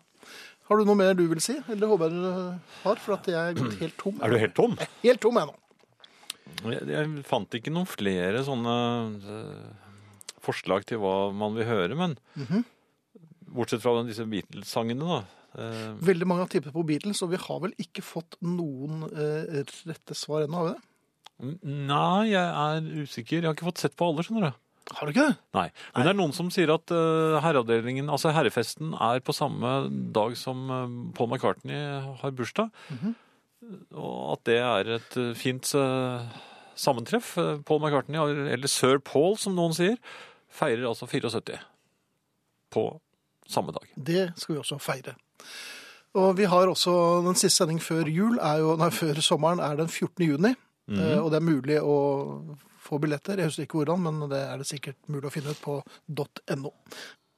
A: Har du noe mer du vil si? Eller håper jeg du har, for at jeg er gått helt tom.
B: Er du helt tom?
A: Helt tom jeg nå.
B: Jeg, jeg fant ikke noen flere sånne eh, forslag til hva man vil høre, men bortsett fra disse Beatles-sangene, da. Eh,
A: Veldig mange har tippet på Beatles, og vi har vel ikke fått noen eh, rette svar ennå, har vi det?
B: Nei, jeg er usikker. Jeg har ikke fått sett på alle, skjønner du.
A: Har du ikke det?
B: Nei. Men det er noen som sier at eh, herreavdelingen, altså herrefesten, er på samme dag som eh, Paul McCartney har bursdag.
A: Mhm.
B: Og at det er et eh, fint eh, sammentreff. Eh, Paul McCartney, eller Sir Paul som noen sier, feirer altså 74 på samme dag.
A: Det skal vi også feire. Og vi har også den siste sendingen før jul, er jo, nei, før sommeren, er den 14. juni. eh, og det er mulig å få billetter. Jeg husker ikke hvordan, men det er det sikkert mulig å finne ut på .no.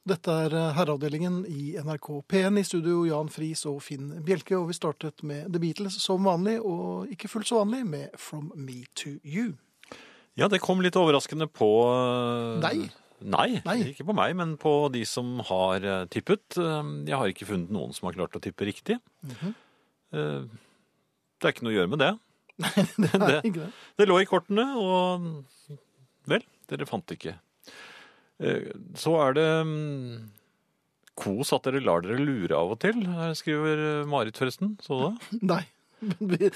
A: Dette er eh, herreavdelingen i NRK P1 i studio, Jan Friis og Finn Bjelke. Og vi startet med The Beatles som vanlig, og ikke fullt så vanlig, med From Me To You.
B: Ja, det kom litt overraskende på eh,
A: Deg?
B: Nei,
A: Nei.
B: ikke på meg, men på de som har eh, tippet. Eh, Jeg har ikke funnet noen som har klart å tippe riktig. Eh, Det er ikke noe å gjøre med det.
A: Det er
B: Det-
A: ikke det.
B: Det lå i kortene, og vel, dere fant det ikke. Eh, Så er det mm, kos at dere lar dere lure av og til, eh, skriver eh, Marit forresten. Så da.
A: Nei. Men vi-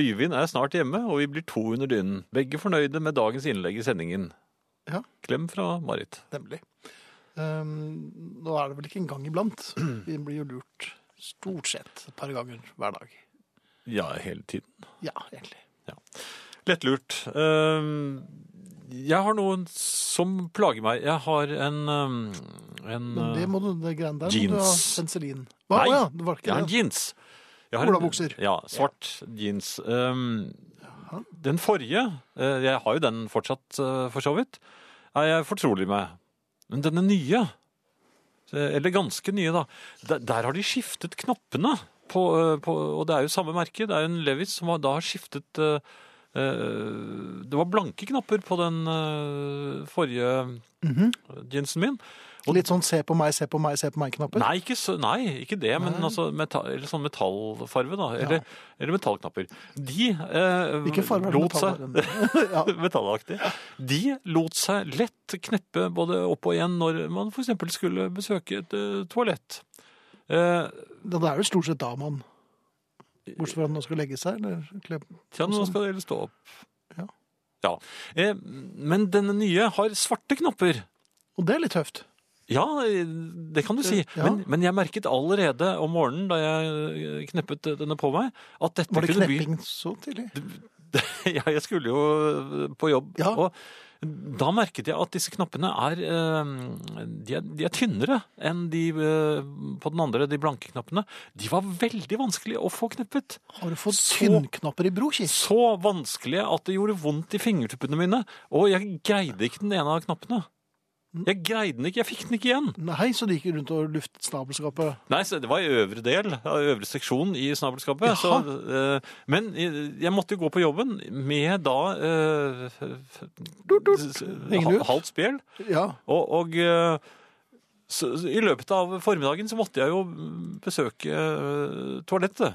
B: Øyvind er snart hjemme, og vi blir to under dynen. Begge fornøyde med dagens innlegg i sendingen.
A: Ja.
B: Klem fra Marit.
A: Nemlig. Ehm, nå er det vel ikke en gang iblant. Vi blir jo lurt stort sett et par ganger hver dag.
B: Ja, hele tiden.
A: Ja, egentlig.
B: Lettlurt. Ehm, Jeg har noen som plager meg. Jeg har en, ehm, en
A: Men det må du, det greiene der må du ha
B: Jeans.
A: penicillin. Hva?
B: Nei.
A: Å ja, det var
B: Jeg
A: ikke
B: har en
A: det.
B: jeans. Jeg har
A: Olabukser.
B: En, ja, svart jeans. Ehm, den forrige, eh, jeg har jo den fortsatt eh, for så vidt, er jeg fortrolig med. Men denne nye, eh, eller ganske nye da, der, der har de skiftet knappene. På, eh, på, og det er jo samme merke, det er jo en Levis som har, da har skiftet eh, eh, Det var blanke knapper på den eh, forrige
A: Mhm.
B: jeansen min. Og-
A: Litt sånn se på meg, se på meg, se på meg-knapper.
B: Nei, ikke, så, nei, ikke det, men altså metall, eller sånn metallfarve, da. Eller, eller metallknapper. De eh,
A: Hvilken farge er det
B: lot seg
A: metall er? ja.
B: Metallaktig. De lot seg lett kneppe både opp og igjen når man f.eks. skulle besøke et eh, toalett. Eh,
A: Det er jo stort sett da man Bortsett fra at den nå skal legge seg, eller kle
B: Tja, nå skal dere stå opp.
A: Sånn. Ja.
B: Ja. Eh, Men denne nye har svarte knapper.
A: Og det er litt tøft.
B: Ja, eh, det kan du si.
A: Ja.
B: Men, men jeg merket allerede om morgenen da jeg eh, kneppet denne på meg, at dette
A: Var det
B: kunne bli
A: knepping så tidlig?
B: Ja, jeg skulle jo eh, på jobb.
A: Ja.
B: Og da merket jeg at disse knappene er eh, de, er de er tynnere enn de eh, på den andre, de blanke knappene. De var veldig vanskelig å få kneppet.
A: Har du fått
B: Så-
A: tynnknapper i bro, Kis?
B: Så vanskelige at det gjorde vondt i fingertuppene mine. Og jeg greide ikke den ene av knappene. Jeg greide den ikke, jeg fikk den ikke igjen.
A: Nei, så de gikk rundt og luftet snabelskapet.
B: Nei, så Det var i øvre del, ja, i øvre seksjon i snabelskapet. Så, eh, men jeg jeg måtte jo gå på jobben med da eh,
A: Dut, dut.
B: s-
A: Hengende ut.
B: ha- halvt spjeld.
A: Ja.
B: Og, og eh, så, så i løpet av formiddagen så måtte jeg jo besøke eh, toalettet.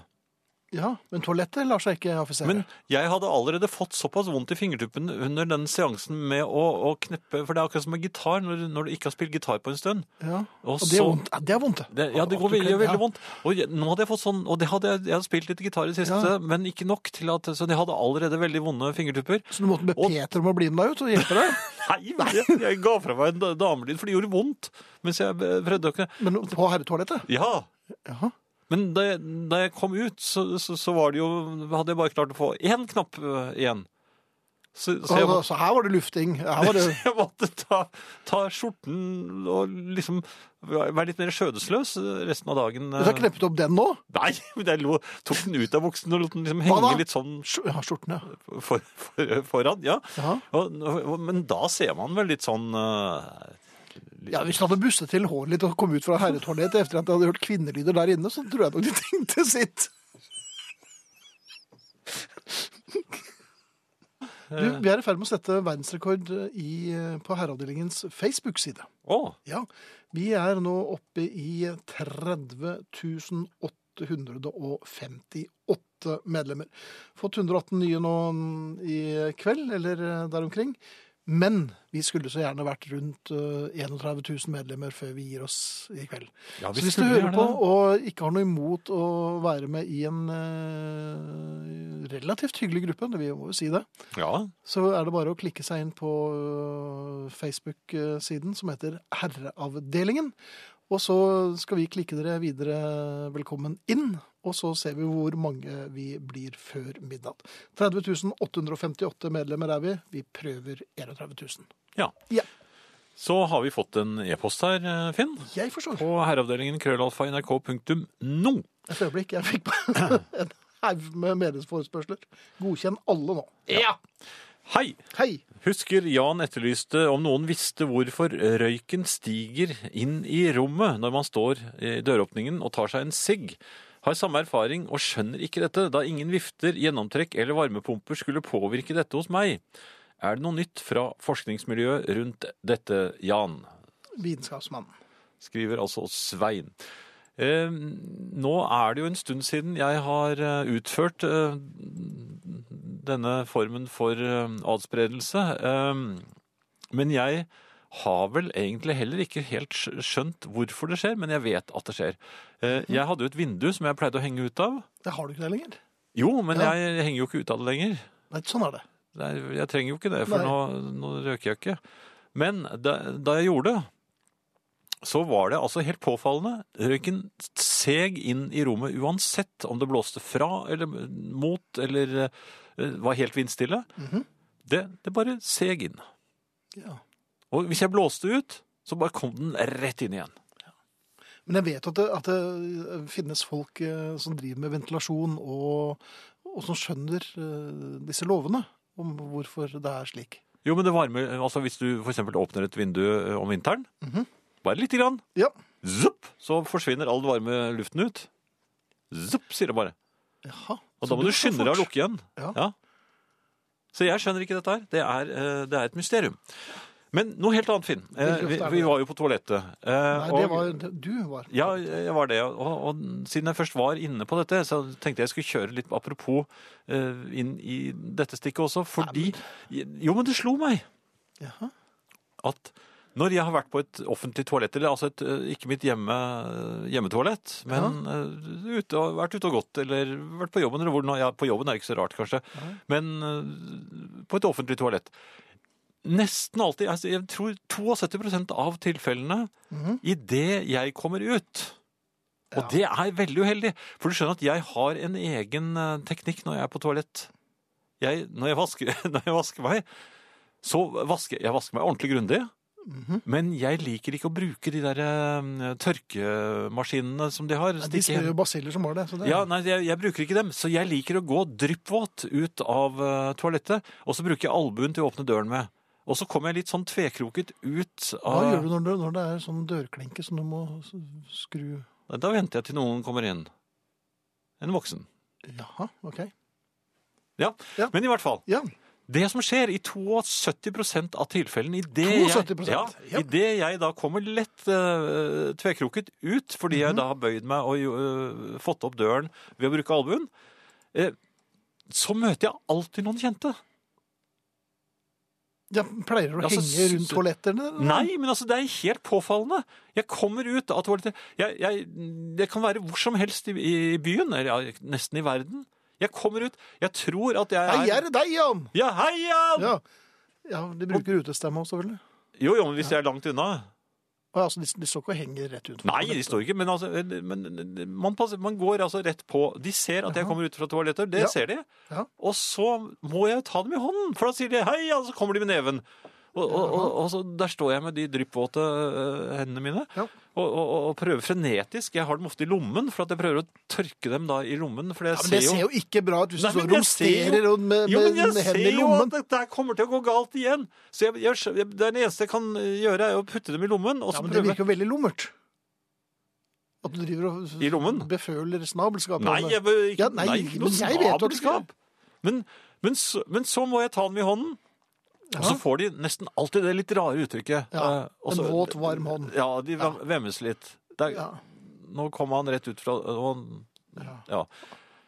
A: ja. Men toalettet lar seg ikke affisere.
B: Men jeg hadde allerede fått såpass vondt i fingertuppen under den seansen med å, å kneppe For det er akkurat som med gitar, når, du- når du ikke har spilt gitar på en stund.
A: ja.
B: Og
A: Og det er
B: så-
A: vondt. Ja, det er vondt.
B: Det, ja, det går,
A: At du
B: veldig- gjør veldig
A: klemmer, ja.
B: vondt. Og jeg, nå hadde jeg fått sånn, og det hadde jeg, jeg hadde spilt litt gitar i det siste,
A: Ja.
B: men ikke nok til at Så jeg hadde allerede veldig vonde fingertupper.
A: Så du måtte be
B: Og-
A: Peter om å bli med deg ut og hjelpe deg?
B: Nei, jeg, jeg ga fra meg en da- damelyd, for det gjorde vondt mens jeg eh, prøvde å kne...
A: Men på herretoalettet?
B: Ja!
A: Jaha.
B: Men da jeg, da jeg kom ut, så, så, så var det jo Hadde jeg bare klart å få én knapp eh, igjen. Så, så jeg,
A: Så, så her var det lufting. Her var det
B: måtte- jeg måtte ta, ta skjorten og liksom være litt mer skjødesløs resten av dagen.
A: Du har kneppet opp den nå?
B: Nei, men jeg lo, tok den ut av buksen og lot den liksom
A: Hva da?
B: henge litt sånn
A: Skj- Ja, skjorten, ja.
B: for, for, foran. Ja.
A: Jaha.
B: Og, og, men da ser man vel litt sånn eh,
A: Ja, Hvis du hadde busset til håret litt og kom ut fra herretoalettet etter at du hadde hørt kvinnelyder der inne, så tror jeg nok de tenkte sitt. Du, vi er i ferd med å sette verdensrekord eh, i, på herreavdelingens Facebook-side.
B: Å!
A: Ja, Vi er nå oppe i 30.858 medlemmer. Fått 118 nye nå i kveld, eller eh, der omkring. Men vi skulle så gjerne vært rundt eh, 31 000 medlemmer før vi gir oss i kveld.
B: Ja,
A: så
B: vi
A: hvis du
B: skulle
A: hører
B: gjerne
A: på
B: det.
A: og ikke har noe imot å være med i en eh, relativt hyggelig gruppe, det vi må jo si det,
B: Ja.
A: så er det bare å klikke seg inn på øh, Facebook-siden som heter Herreavdelingen. Og så skal vi klikke dere videre velkommen inn, og så ser vi hvor mange vi blir før midnatt. 30 858 medlemmer er vi. Vi prøver 31 000.
B: ja.
A: Ja.
B: Så har vi fått en e-post her, eh, Finn.
A: Jeg forstår.
B: På herreavdelingen krøllalfa nrk.no.
A: Et øyeblikk, jeg fikk bare en haug med medlemsforespørsler. Godkjenn alle nå.
B: Ja. Hei!
A: Hei!
B: Husker Jan etterlyste om noen visste hvorfor røyken stiger inn i rommet når man står i døråpningen og tar seg en sigg. Har samme erfaring og skjønner ikke dette, da ingen vifter, gjennomtrekk eller varmepumper skulle påvirke dette hos meg. Er det noe nytt fra forskningsmiljøet rundt dette, Jan?
A: Vitenskapsmannen.
B: skriver altså Svein. Eh, nå er det jo en stund siden jeg har eh, utført eh, denne formen for eh, adspredelse. Eh, men jeg har vel egentlig heller ikke helt skj- skjønt hvorfor det skjer, men jeg vet at det skjer. Eh, jeg hadde jo et vindu som jeg pleide å henge ut av.
A: Det har du ikke det lenger.
B: Jo, men
A: Ja.
B: jeg henger jo ikke ut av det lenger.
A: Nei, sånn er det.
B: Det er- jeg trenger jo ikke det, for
A: Nei.
B: nå, nå røker jeg ikke. Men da, da jeg gjorde det, så var det altså helt påfallende. Røyken seg inn i rommet uansett om det blåste fra eller mot eller eh, var helt vindstille.
A: Mhm.
B: det, det bare seg inn.
A: Ja.
B: Og hvis jeg blåste ut, så bare kom den rett inn igjen.
A: Men jeg vet at det, at det finnes folk eh, som driver med ventilasjon, og, og som skjønner eh, disse lovene om hvorfor det er slik.
B: Jo, men det varmer Altså hvis du for eksempel åpner et vindu eh, om vinteren,
A: Mhm.
B: bare lite grann,
A: Ja.
B: zupp, så forsvinner all den varme luften ut. Zupp, sier det bare.
A: Jaha.
B: Og
A: Så
B: da må
A: det
B: du
A: går
B: skynde deg å
A: fort.
B: lukke igjen.
A: Ja.
B: Så jeg skjønner ikke dette her. Det er, eh, det er et mysterium. Men noe helt annet, Finn. Eh,
A: Veldig ofte
B: Vi,
A: er det
B: vi
A: det.
B: var jo på toalettet. eh,
A: Nei, det
B: og-
A: var det- Du var
B: Ja, jeg var det. Og, og siden jeg først var inne på dette, så tenkte jeg jeg skulle kjøre litt apropos eh, inn i dette stikket også, fordi Jo, men det slo meg
A: Jaha.
B: at Når jeg har vært på et offentlig toalett, eller altså et, eh, ikke mitt hjemme, hjemmetoalett, men eh, ute, og- vært ute og gått, eller vært på jobben, eller hvor, nå- ja, på jobben er ikke så rart kanskje, men eh, på et offentlig toalett. Nesten alltid, altså, jeg tror 72 av tilfellene, i det jeg kommer ut, og det er veldig uheldig, for du skjønner at jeg har en egen eh, teknikk når jeg er på toalett. Jeg, når, jeg vasker, når jeg vasker meg, så vasker jeg vasker meg ordentlig grundig,
A: Mhm.
B: men jeg liker ikke å bruke de der eh, tørkemaskinene som de har.
A: Nei, De
B: Stikke-
A: spør jo basiller som var det. Så det
B: ja, nei, jeg, jeg bruker ikke dem, så jeg liker å gå dryppvåt ut av eh, toalettet, og så bruker jeg albuen til å åpne døren med. Og så kommer jeg litt sånn tvekroket ut
A: Hva
B: av...
A: gjør du når, du når det er sånn dørklinke som du må s- skru
B: Da venter jeg til noen kommer inn. En voksen.
A: Jaha, OK.
B: Ja,
A: Ja.
B: men i hvert fall.
A: Ja.
B: Det som skjer i 72 av tilfellene i det,
A: 72%?
B: jeg, ja,
A: Ja.
B: i det jeg da kommer lett eh, tvekroket ut, fordi
A: Mhm.
B: jeg da har bøyd meg og eh, fått opp døren ved å bruke albuen, eh, så møter jeg alltid noen kjente.
A: Ja, pleier du å
B: Ja, så
A: henge rundt
B: s-
A: toalettene? eller?
B: Nei, men altså, det er helt påfallende. Jeg kommer ut av toalettet. Jeg, jeg, det kan være hvor som helst i, i byen, eller ja, nesten i verden. Jeg kommer ut. Jeg tror at jeg er...
A: Hei, er det deg, Jan?
B: Ja, hei, Jan!
A: Ja. ja de bruker utestemme også, selvfølgelig.
B: Jo, jo, men hvis jeg er langt unna.
A: Å, Altså, de, de står ikke og henger rett ut.
B: Nei, de står ikke, men, altså, men man, passer, man går altså rett på. De ser at jeg kommer ut fra toalettet, det
A: Ja.
B: ser de.
A: Ja.
B: Og så må jeg ta dem i hånden, for da sier de hei, og så kommer de med neven. Og, og, og, og så der står jeg med de dryppvåte øh, hendene mine
A: Ja.
B: og, og, og prøver frenetisk. Jeg har dem ofte i lommen, for at jeg prøver å tørke dem da i lommen. For jeg
A: Ja, men det
B: ser jo
A: ser jo ikke bra ut hvis
B: Nei,
A: du står
B: men
A: og
B: jeg ser
A: romsterer
B: jo-
A: og med,
B: jo,
A: med,
B: men jeg
A: med
B: ser
A: hendene i
B: jo at
A: lommen.
B: dette her kommer til å gå galt igjen. Så jeg, jeg, skjø- jeg, det er det eneste jeg kan eh, gjøre, er å putte dem i lommen. Og
A: Ja,
B: så
A: men det
B: prøve
A: virker jo veldig lummert. At du driver og
B: I lommen?
A: beføler snabelskapet.
B: Nei, jeg, bør ikke,
A: Ja,
B: nei,
A: nei,
B: ikke noe
A: men jeg vet jo at du skal-
B: snabelskap. Men, men, så, men så må jeg ta dem i hånden. Og så
A: Ja.
B: får de nesten alltid det litt rare uttrykket.
A: Ja,
B: Eh, og
A: en
B: så-
A: våt, varm hånd.
B: Ja, de vem- vemmes litt. Det er,
A: ja.
B: Nå kom han rett ut fra og han,
A: Ja.
B: ja.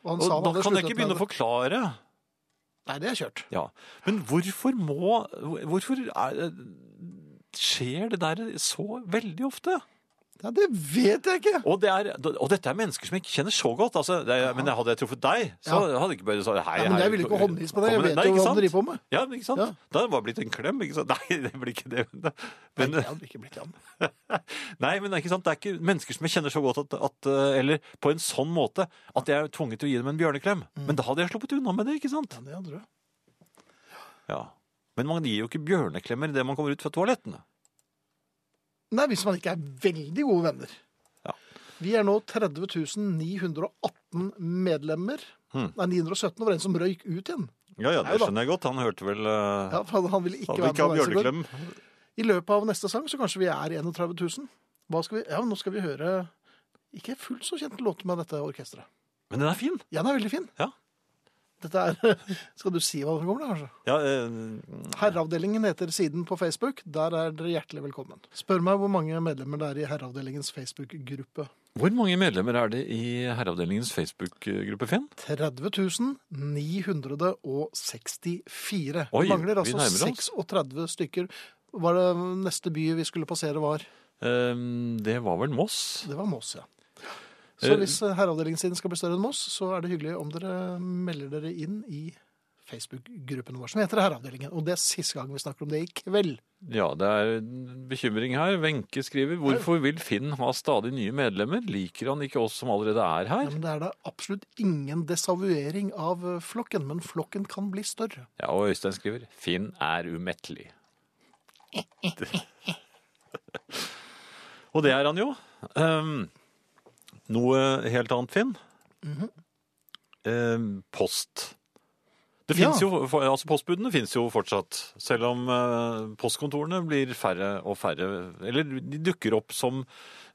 A: Og han
B: Og
A: sa han
B: da
A: hadde
B: kan jeg
A: sluttet
B: ikke begynne
A: med
B: å forklare.
A: det. Nei, det er kjørt.
B: Ja. Men hvorfor må Hvorfor er, eh, skjer det der så veldig ofte?
A: Ja, det vet jeg ikke.
B: Og, det er, og dette er mennesker som jeg ikke kjenner så godt. Altså, det er, Men hadde jeg truffet deg, så hadde jeg ikke bøyd sagt hei.
A: Ja, men
B: hei,
A: jeg vil ikke
B: kom-
A: håndhilse på deg.
B: kom
A: Jeg
B: med-
A: vet
B: Nei,
A: jo
B: ikke
A: hva du
B: sant?
A: driver på med.
B: Ja, men ikke sant?
A: Ja.
B: Da hadde det bare blitt en klem, ikke sant? Nei, det blir ikke det. Men,
A: Nei, det
B: men,
A: hadde ikke blitt han.
B: nei, men ikke sant? det er ikke mennesker som jeg kjenner så godt, at, at, eh, eller på en sånn måte, at jeg er tvunget til å gi dem en bjørneklem.
A: Mm.
B: Men da hadde jeg sluppet unna med det, ikke sant?
A: Ja, det hadde du.
B: Ja. Men man gir jo ikke bjørneklemmer idet man kommer ut fra toalettene.
A: Nei, hvis man ikke er veldig gode venner.
B: Ja.
A: Vi er nå 30 918 medlemmer.
B: Hmm.
A: Nei, 917 var en som røyk ut igjen.
B: Ja, ja,
A: det Neida.
B: skjønner jeg godt. Han hørte vel
A: Ja, for han- han ville eh, ikke være med. på Venstre Gang. I løpet av neste sang så kanskje vi er 31 000. Hva skal vi? Ja, nå skal vi høre ikke fullt så kjent låt med dette orkesteret.
B: Men den er fin.
A: Ja, den er veldig fin.
B: Ja.
A: Dette er, Skal du si hva som kommer, da, kanskje?
B: Ja, eh,
A: Herreavdelingen heter siden på Facebook. Der er dere hjertelig velkommen. Spør meg hvor mange medlemmer det er i Herreavdelingens Facebook-gruppe.
B: Hvor mange medlemmer er det i herreavdelingens Facebook-gruppe, Finn?
A: 30 964.
B: Oi,
A: det mangler
B: vi
A: altså
B: nærmer oss.
A: 36 stykker. Var det neste by vi skulle passere var?
B: Ehm, det var vel Moss.
A: Det var Moss, ja. Så
B: Eh,
A: hvis herreavdelingen sin skal bli større enn Moss, så er det hyggelig om dere melder dere inn i Facebook-gruppen vår som heter Herreavdelingen. Og det er siste gang vi snakker om det i kveld.
B: Ja, det er en bekymring her. Wenche skriver hvorfor vil Finn ha stadig nye medlemmer? Liker han ikke oss som allerede er
A: Ja,
B: her?
A: men det er da absolutt ingen desavuering av eh, flokken, men flokken kan bli større.
B: Ja, Og Øystein skriver Finn er umettelig. og det er han jo. Ehm, noe helt annet, Finn. Ehm, post. Det
A: Ja.
B: finnes jo, for- altså Postbudene fins jo fortsatt, selv om eh, postkontorene blir færre og færre. Eller de dukker opp som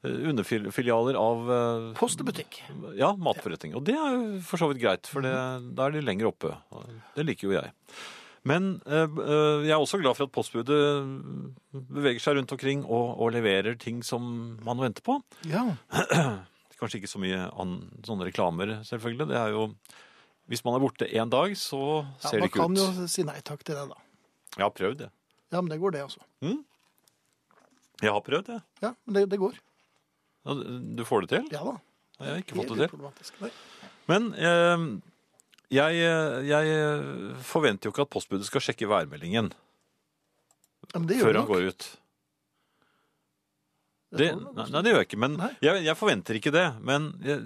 B: eh, underfilialer av eh,
A: Post og butikk.
B: ja, matforretning. Og det er jo for så vidt greit, for det, da er de lenger oppe. Og Det liker jo jeg. Men eh, eh, jeg er også glad for at postbudet beveger seg rundt omkring og, og leverer ting som man venter på.
A: Ja.
B: Kanskje ikke så mye an, sånne reklamer, selvfølgelig. Det er jo Hvis man er borte én dag, så
A: ja
B: ser
A: man
B: det ikke
A: kan
B: ut.
A: jo si nei takk til det, da.
B: Jeg har prøvd det.
A: Ja, men det går, det, altså.
B: Mm. Jeg har prøvd, jeg.
A: Ja, men det, det går.
B: Ja, Du får det til?
A: Ja da.
B: Jeg har ikke
A: Helt
B: fått det til.
A: uproblematisk. Nei.
B: Men eh, jeg, eh, jeg forventer jo ikke at postbudet skal sjekke værmeldingen
A: Ja, men det gjør
B: før
A: det
B: han
A: nok.
B: går ut.
A: Det
B: Det,
A: får han nok.
B: nei, nei, det gjør jeg ikke. Men
A: Nei.
B: jeg, jeg forventer ikke det. Men jeg,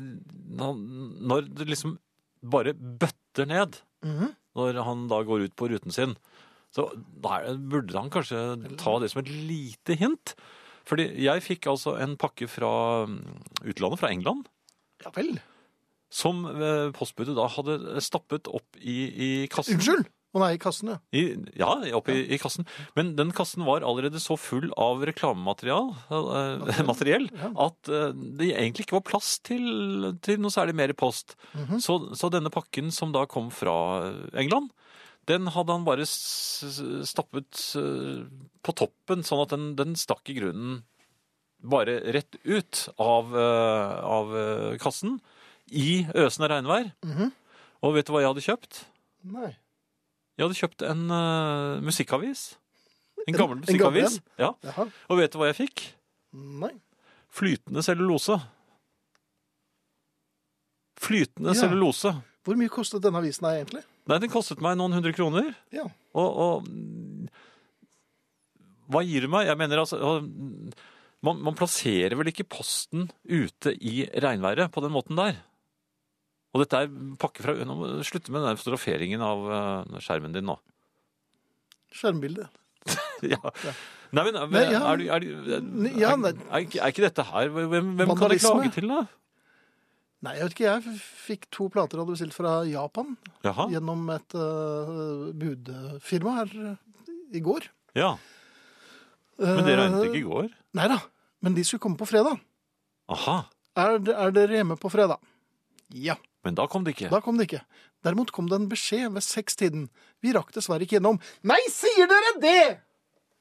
B: når når det liksom bare bøtter ned,
A: Mhm.
B: når han da går ut på ruten sin, så da er- burde han kanskje ta det som et lite hint. Fordi jeg fikk altså en pakke fra mm, utlandet, fra England,
A: Ja vel.
B: som eh, postbudet da hadde stappet opp i, i kassen.
A: Unnskyld! Å nei, kassen, ja.
B: I, ja, oppe i, i kassen. Men den kassen var allerede så full av reklamemateriell eh, materiell, at eh, det egentlig ikke var plass til, til noe særlig mer post. så, så denne pakken som da kom fra eh, England, den hadde han bare s- s- stappet eh, på toppen, sånn at den, den stakk i grunnen bare rett ut av, eh, av eh, kassen i øsende regnvær.
A: Mhm.
B: Og vet du hva jeg hadde kjøpt?
A: Nei.
B: Jeg hadde kjøpt en eh, musikkavis. En
A: En-
B: gammel
A: en gammel
B: musikkavis. Ja.
A: Jaha.
B: Og vet du hva jeg fikk?
A: Nei.
B: Flytende cellulose. Flytende
A: Ja.
B: cellulose.
A: Hvor mye kostet denne avisen her egentlig?
B: Nei, den kostet meg noen hundre kroner.
A: Ja.
B: Og, og mm, hva gir det meg? Jeg mener altså ja, mm, man, man plasserer vel ikke posten ute i regnværet på den måten der? Og dette er pakke fra Nå må du slutte med den der fotograferingen av eh, skjermen din nå.
A: Skjermbildet.
B: ja. Nei, men, men
A: Nei, ja.
B: er, du, er, du, er,
A: Ja,
B: er,
A: nei.
B: ikke- er ikke dette her Hvem, hvem kan de
A: Vandalisme.
B: klage til, da?
A: Nei, jeg vet ikke. Jeg f- fikk to plater jeg hadde bestilt fra Japan
B: Jaha.
A: gjennom et eh, budfirma her eh, i går.
B: Ja. Men det regnet ikke i
A: Eh,
B: går?
A: Nei da. Men de skulle komme på fredag.
B: Aha.
A: Er, d- er dere hjemme på fredag? Ja.
B: Men da kom det ikke.
A: Da kom det ikke. Derimot kom det en beskjed ved sekstiden. Vi rakk dessverre ikke gjennom. Nei, sier dere det?!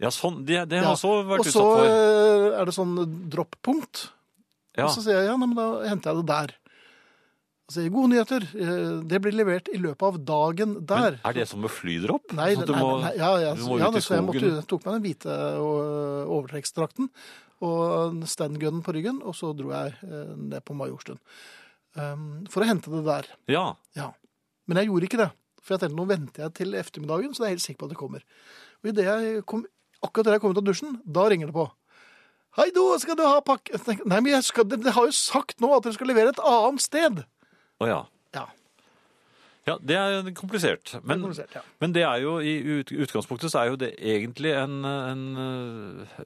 B: Ja, sånn, Det, det
A: Ja,
B: har også vært
A: Og så
B: utsatt for.
A: eh, er det sånn droppunkt.
B: Ja.
A: Og så sier jeg ja, nei, men da henter jeg det der. Og sier jeg, gode nyheter, eh, det blir levert i løpet av dagen der.
B: Men er det som med flydropp?
A: Nei,
B: Sånn at
A: nei, nei, nei, ja, ja,
B: du må
A: ja,
B: ut i
A: så jeg måtte,
B: skogen.
A: jeg tok meg den hvite og- overtrekksdrakten og standgunnen på ryggen, og så dro jeg eh, ned på Majorstuen um, for å hente det der.
B: Ja.
A: Ja. Men jeg gjorde ikke det, for jeg tenkte nå venter jeg til ettermiddagen, så jeg er helt sikker på at det kommer. Og i det jeg kom, akkurat da jeg kom ut av dusjen, da ringer det på. Hei, du, skal du ha pakke? Jeg tenker, Nei, men jeg skal, dere har jo sagt nå at dere skal levere et annet sted.
B: Å ja.
A: Ja,
B: Ja, Det er komplisert.
A: det er
B: Men,
A: komplisert, ja.
B: men det er jo i ut, utgangspunktet så er jo det egentlig en, en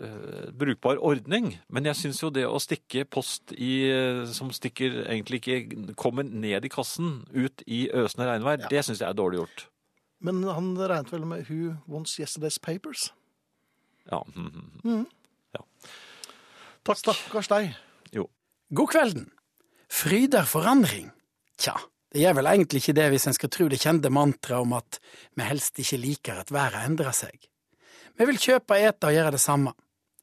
B: øh, brukbar ordning. Men jeg syns jo det å stikke post i, øh, som stikker egentlig ikke kommer ned i kassen, ut i øsende regnvær,
A: Ja.
B: det syns jeg er dårlig gjort.
A: Men han regnet vel med Who Wants Yesterday's Papers?
B: Ja. mhm, mhm.
A: Mhm.
B: ja. Takk.
A: Stakkars deg.
D: God kvelden. Fryder forandring? Tja, det er vel egentlig ikke det hvis en skal tro det kjente mantraet om at vi helst ikke liker at været endrer seg. Vi vil kjøpe, ete og gjøre det samme.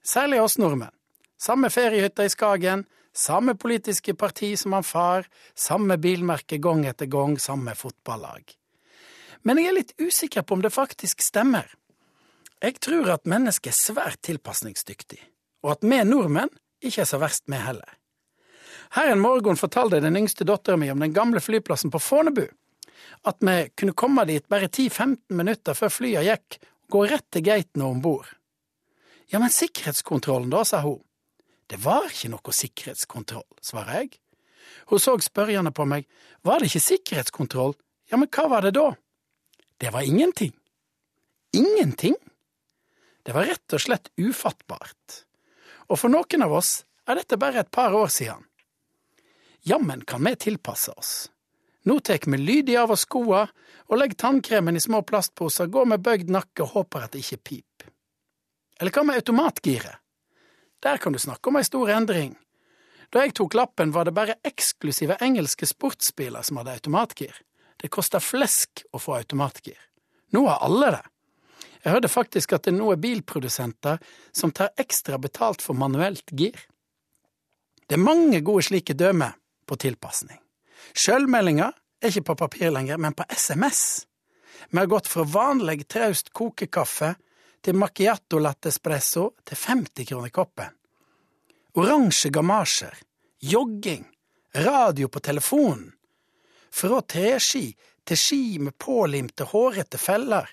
D: Særlig oss nordmenn. Samme feriehytta i Skagen, samme politiske parti som han far, samme bilmerke gang etter gang, samme fotballag. Men jeg er litt usikker på om det faktisk stemmer. Jeg tror at mennesket er svært tilpasningsdyktig, og at vi nordmenn ikke er så verst, vi heller. Her en morgen fortalte den yngste datteren min om den gamle flyplassen på Fornebu. At vi kunne komme dit bare 10-15 minutter før flyet gikk, og gå rett til gaten og om bord. Ja, men sikkerhetskontrollen da, sa hun. Det var ikke noe sikkerhetskontroll, svarer jeg. Hun så spørrende på meg. Var det ikke sikkerhetskontroll? Ja, men hva var det da? Det var ingenting. Ingenting? Det var rett og slett ufattbart. Og for noen av oss er dette bare et par år siden. Jammen kan vi tilpasse oss. Nå tek vi lydig av oss skoa og legger tannkremen i små plastposer, går med bøygd nakke og håper at det ikke pip. Eller hva med automatgiret? Der kan du snakke om ei stor endring. Da jeg tok lappen, var det bare eksklusive engelske sportsbiler som hadde automatgir. Det kosta flesk å få automatgir. Nå har alle det. Jeg hørte faktisk at det nå er bilprodusenter som tar ekstra betalt for manuelt gir. Det er mange gode slike dømme på tilpasning. Sjølmeldinger er ikke på papir lenger, men på SMS. Vi har gått fra vanlig traust kokekaffe til macchiato latte espresso til 50 kroner koppen. Oransje gamasjer, jogging, radio på telefonen. Fra treski til ski med pålimte, hårete feller.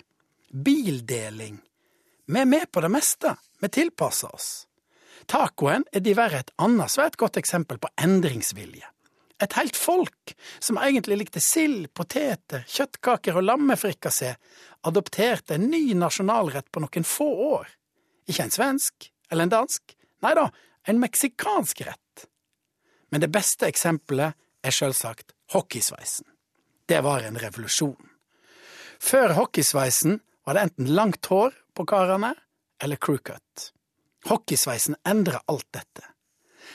D: Bildeling. Vi er med på det meste, vi tilpasser oss. Tacoen er diverre et annet svært godt eksempel på endringsvilje. Et helt folk som egentlig likte sild, poteter, kjøttkaker og lammefrikassé, adopterte en ny nasjonalrett på noen få år. Ikke en svensk eller en dansk, nei da, en meksikansk rett. Men det beste eksempelet er sjølsagt hockeysveisen. Det var en revolusjon. Før hockeysveisen var det enten langt hår på karene eller crewcut. Hockeysveisen endra alt dette.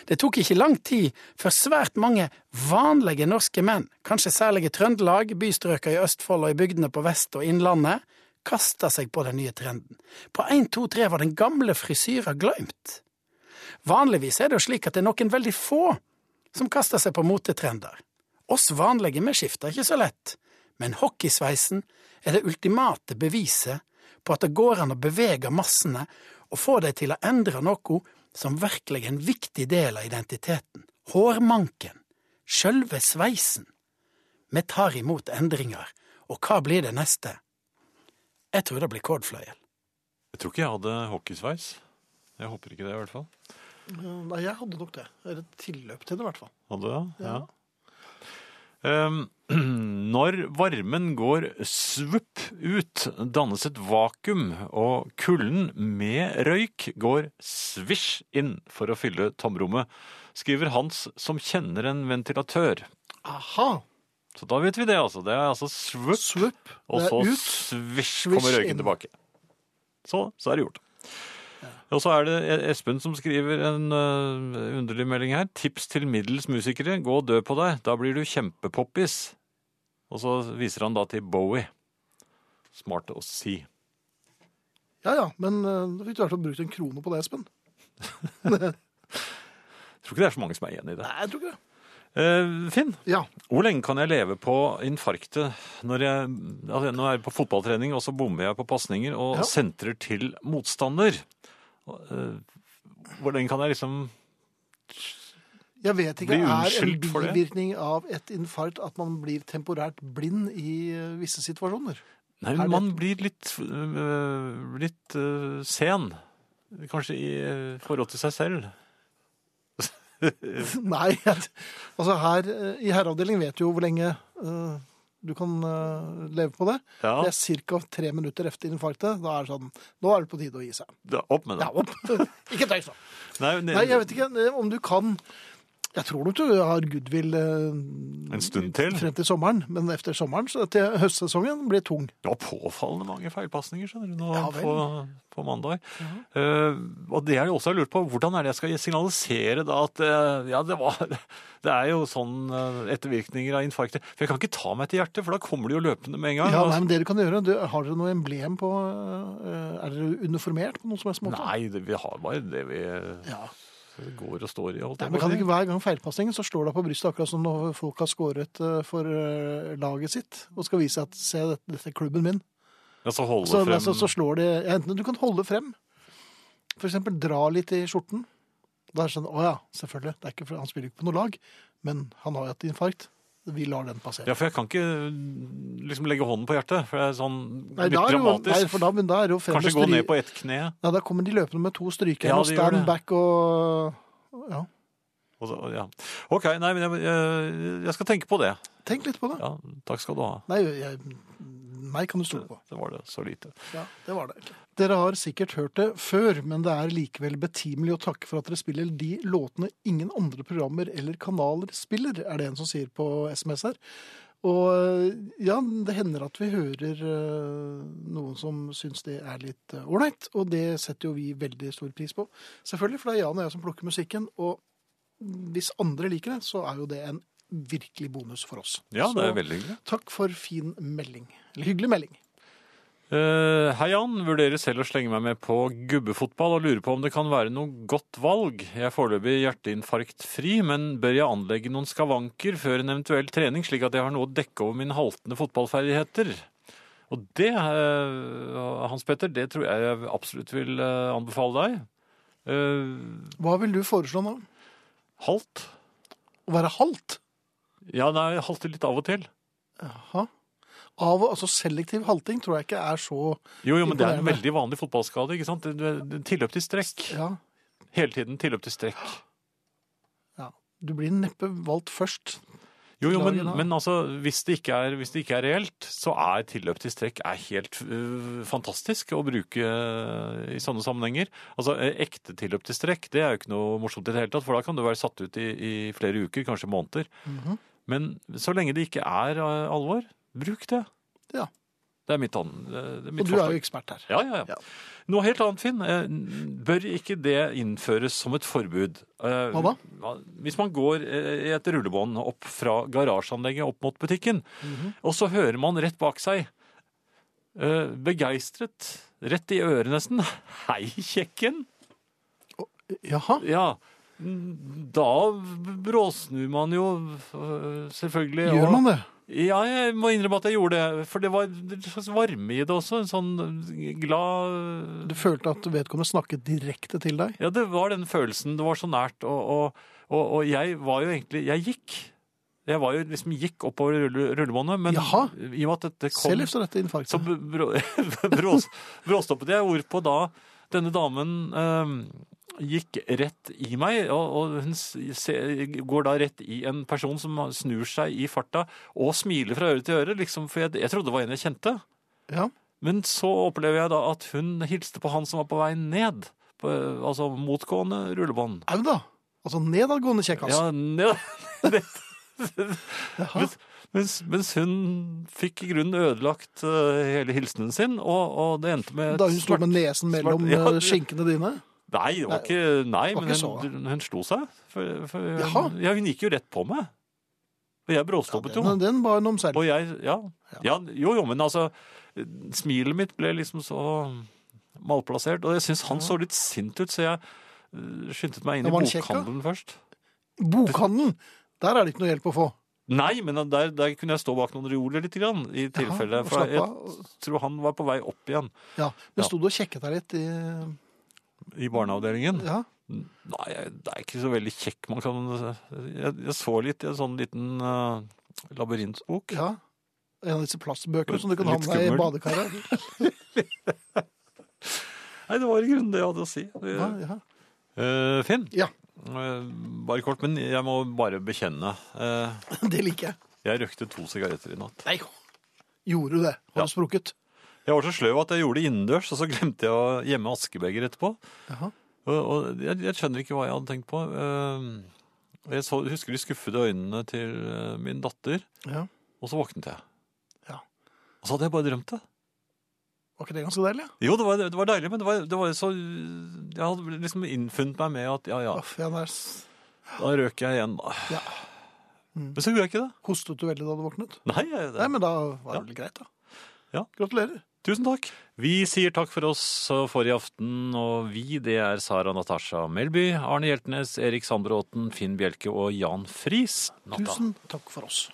D: Det tok ikke lang tid før svært mange vanlige norske menn, kanskje særlig i Trøndelag, bystrøka i Østfold og i bygdene på Vest- og Innlandet, kasta seg på den nye trenden. På én, to, tre var den gamle frisyra glemt. Vanligvis er det jo slik at det er noen veldig få som kaster seg på motetrender. Oss vanlige vi skifter ikke så lett, men hockeysveisen er det ultimate beviset på at det går an å bevege massene og få dem til å endre noe som virkelig er en viktig del av identiteten, hårmanken, sjølve sveisen. Vi tar imot endringer, og hva blir det neste? Jeg tror det blir kordfløyel.
B: Jeg tror ikke jeg hadde hockeysveis. Jeg håper ikke det, i hvert fall.
A: Nei, jeg hadde nok det. Eller et tilløp til det, i hvert fall.
B: Hadde det? Ja. Ehm, når varmen går svupp ut, dannes et vakuum, og kulden med røyk går svisj inn for å fylle tomrommet, skriver Hans som kjenner en ventilatør.
A: Aha!
B: Så da vet vi det, altså. Det er altså svupp,
A: Swoop.
B: og
A: det
B: så
A: er ut.
B: svisj kommer
A: svisj
B: røyken
A: inn.
B: tilbake. Så, så er det gjort. Og så er det E- Espen som skriver en øh, underlig melding her. Tips til middels musikere. Gå og dø på deg. Da blir du kjempepoppis. Og så viser han da til Bowie. Smart å si.
A: Ja ja, men eh, da fikk du i hvert fall brukt en krone på det, Espen.
B: Jeg tror ikke det er så mange som er enig i det.
A: Nei, jeg tror ikke det.
B: Eh, Finn,
A: Ja.
B: hvor lenge kan jeg leve på infarktet når jeg altså, Nå er jeg på fotballtrening, og så bommer jeg på pasninger og
A: Ja.
B: sentrer til motstander. Og, eh, Hvor lenge kan jeg liksom
A: Jeg vet ikke,
B: Blir
A: er en
B: unnskyldt for det?
A: bivirkning av et infarkt at man blir temporært blind i eh, visse situasjoner?
B: Nei,
A: Er det-
B: man blir litt, øh, litt øh, sen. Kanskje i øh, forhold til seg selv.
A: Nei, jeg- altså her eh, i herreavdeling vet du jo hvor lenge eh, du kan eh, leve på det.
B: Ja,
A: Det er ca. tre minutter efter infarktet. Da er det sånn, nå er det på tide å gi seg.
B: da- opp med det.
A: Ja, opp. ikke tenk sånn.
B: Nei, ne-
A: Nei, jeg vet ikke eh, om du kan Jeg tror nok du har goodwill eh,
B: En stund til.
A: frem til sommeren, men efter sommeren, så til høstsesongen, blir tung.
B: Det var påfallende mange feilpasninger skjønner du, nå
A: Ja vel.
B: på, på mandag. Eh, og det er det også jeg lurt på. Hvordan er det jeg skal signalisere da at eh, ja, det, var, det er jo sånn eh, ettervirkninger av infarktet. For jeg kan ikke ta meg til hjertet, for da kommer de jo løpende med en gang. Altså,
A: Ja,
B: Og-
A: nei, men det du kan gjøre, du, Har dere noe emblem på eh, Er dere uniformert på noen som helst måte?
B: Nei, det, vi har bare det vi eh,
A: Ja.
B: går og står i. Holdt
A: Nei,
B: jeg
A: men
B: på å
A: kan
B: si.
A: det ikke Hver gang feilpasningen så står det på brystet, akkurat som når folk har skåret eh, for eh, laget sitt og skal vise at se, dette, dette er klubben min.
B: Ja, så Altså, holde
A: Så,
B: frem...
A: så, så slår de ja, Enten du kan holde frem, for eksempel dra litt i skjorten. Da er det sånn Å ja, selvfølgelig. Det er ikke, for- han spiller jo ikke på noe lag, men han har jo hatt infarkt. Vi lar den passere.
B: Ja, for jeg kan ikke liksom legge hånden på hjertet, for det er sånn
A: Nei, da er
B: litt
A: det jo, nei,
B: dramatisk.
A: for da, men da er det jo frem
B: Kanskje
A: med
B: gå
A: stry-
B: ned på ett kne,
A: Nei, da kommer de løpende med to strykere
B: Ja,
A: og
B: de gjør det.
A: stand back og Ja.
B: og så, ja. Ok, nei, men jeg, jeg, jeg skal tenke på det.
A: Tenk litt på det.
B: Ja, takk skal du ha.
A: Nei, jeg, meg kan du stole på.
B: Det var det så lite.
A: Ja, det var det. Dere har sikkert hørt det før, men det er likevel betimelig å takke for at dere spiller de låtene ingen andre programmer eller kanaler spiller, er det en som sier på SMS her. Og eh, ja, det hender at vi hører eh, noen som syns det er litt eh, ålreit, og det setter jo vi veldig stor pris på. Selvfølgelig, for det er Jan og jeg som plukker musikken, og hvis andre liker det, så er jo det en virkelig bonus for oss.
B: Ja,
A: Så
B: det er veldig hyggelig.
A: Takk for fin melding. Eller hyggelig melding.
B: Eh, hei, Jan. Vurderer selv å slenge meg med på gubbefotball og lurer på om det kan være noe godt valg. Jeg er foreløpig hjerteinfarktfri, men bør jeg anlegge noen skavanker før en eventuell trening, slik at jeg har noe å dekke over mine haltende fotballferdigheter? Og Og det, eh, Hans Petter, det tror jeg jeg absolutt vil eh, anbefale deg. Eh,
A: Hva vil du foreslå nå?
B: Halvt?
A: Å være halvt?
B: Ja, nei, halter litt av og til.
A: Jaha. Av, altså selektiv halting tror jeg ikke er så
B: Jo, jo, men det er en
A: Imponerende.
B: veldig vanlig fotballskade. ikke sant? Det- det- Tilløp til strekk.
A: Ja,
B: Hele tiden tilløp til strekk.
A: ja. Du blir neppe valgt først.
B: Jo, jo, men,
A: Laget da.
B: men altså, hvis det, ikke er, hvis det ikke er reelt, så er tilløp til strekk er helt øh, fantastisk å bruke øh, i sånne sammenhenger. Altså, eh, Ekte tilløp til strekk det er jo ikke noe morsomt i det hele tatt, for da kan du være satt ut i, i flere uker, kanskje måneder.
A: Mhm.
B: Men så lenge det ikke er eh, alvor, bruk det.
A: Ja.
B: Det er mitt, an, det er mitt
A: Og du er
B: forslag.
A: jo ekspert her.
B: Ja, ja,
A: Ja.
B: ja. Noe helt annet, Finn. Eh, n- Bør ikke det innføres som et forbud? Eh,
A: Hva da?
B: hva- Hvis man går eh, i et rullebånd opp fra garasjeanlegget opp mot butikken,
A: Mhm.
B: og så hører man rett bak seg eh, begeistret, rett i øret nesten, 'Hei, kjekken!'
A: Jaha.
B: Ja, n- da bråsnur man jo eh, selvfølgelig.
A: Gjør
B: og-
A: man det?
B: ja, jeg må innrømme at jeg gjorde det. For det var en slags varme i det også. En sånn glad
A: Du følte at vedkommende snakket direkte til deg?
B: Ja, det var den følelsen. Det var så nært. Og, og, og, og jeg var jo egentlig Jeg gikk. Jeg var jo liksom gikk oppover rulle- rullebåndet, men
A: Jaha.
B: i og med at dette kom
A: Selv efter dette
B: Så
A: infarktet.
B: br- brå- brås- bråstoppet jeg, hvorpå da denne damen eh, gikk rett i meg, og, og hun s- se, går da rett i en person som snur seg i farta og smiler fra øre til øre, liksom, for jeg, jeg trodde det var en jeg kjente.
A: Ja.
B: Men så opplever jeg da at hun hilste på han som var på vei ned, på, altså motgående rullebånd.
A: Au da! Altså nedadgående altså. kjekkas.
B: Ja, ned, ned.
A: Jaha.
B: Mens, mens, mens hun fikk i grunnen ødelagt eh, hele hilsenen sin, og, og det endte med et
A: Da hun sto
B: smerte-
A: med nesen mellom
B: smart- ja,
A: eh,
B: det-
A: skinkene dine.
B: Nei, det var
A: Nei,
B: ikke, nei
A: var
B: men
A: ikke
B: hun, hun, slo seg. For, for,
A: Jaha.
B: ja, hun gikk jo rett på meg. Og jeg bråstoppet jo.
A: Den, den bar en omseiling.
B: Og jeg, ja, ja. Jo, jo, men altså Smilet mitt ble liksom så malplassert. Og jeg syns han så litt sint ut, så jeg eh, skyndte meg inn
A: Ja,
B: i
A: var han kjekk, da?
B: bokhandelen først.
A: Bokhandelen! Der er det ikke noe hjelp å få.
B: Nei, men der, der kunne jeg stå bak noen reoler litt, grann, i tilfelle.
A: og
B: For
A: slappe av.
B: jeg tror han var på vei opp igjen
A: Ja,
B: Ja.
A: Men sto du og kjekket deg litt i
B: i barneavdelingen.
A: Ja.
B: Nei, jeg- det er ikke så veldig kjekk. Man kan, jeg, jeg så litt i en sånn liten eh, labyrintbok.
A: ja. En av disse plastbøkene som du kan ha
B: Litt
A: med deg i
B: skummel.
A: badekaret.
B: Nei, det var i grunnen det jeg hadde å si.
A: Ja, ja.
B: Eh, Finn,
A: ja,
B: eh, bare kort, men jeg må bare bekjenne. Eh,
A: det liker jeg.
B: jeg røkte to sigaretter i natt.
A: Nei, gjorde du det? Har du
B: Ja.
A: sprukket?
B: Jeg var så sløv at jeg gjorde det innendørs, og så glemte jeg å gjemme askebeger etterpå.
A: Jaha.
B: Og, og jeg, jeg skjønner ikke hva jeg hadde tenkt på. Ehm, og jeg så, husker de skuffede øynene til eh, min datter,
A: Ja.
B: og så våknet jeg.
A: Ja.
B: Og så hadde jeg bare drømt det.
A: Var ikke det ganske deilig?
B: Jo, det var, det var deilig, men det var, det var så Jeg hadde liksom innfunnet meg med at ja, ja,
A: Uff, ja, der s-
B: da røk jeg igjen, da.
A: Ja.
B: Men så gjorde jeg ikke det.
A: Hostet du veldig da du våknet?
B: Nei, jeg,
A: Nei, men da var det vel greit, da.
B: Ja.
A: Gratulerer.
B: Tusen takk. Vi sier takk for oss for i aften, og vi det er Sara Natasha Melby, Arne Hjeltnes, Erik Sandbråten, Finn Bjelke og Jan Friis. Natta.
A: Tusen takk for oss.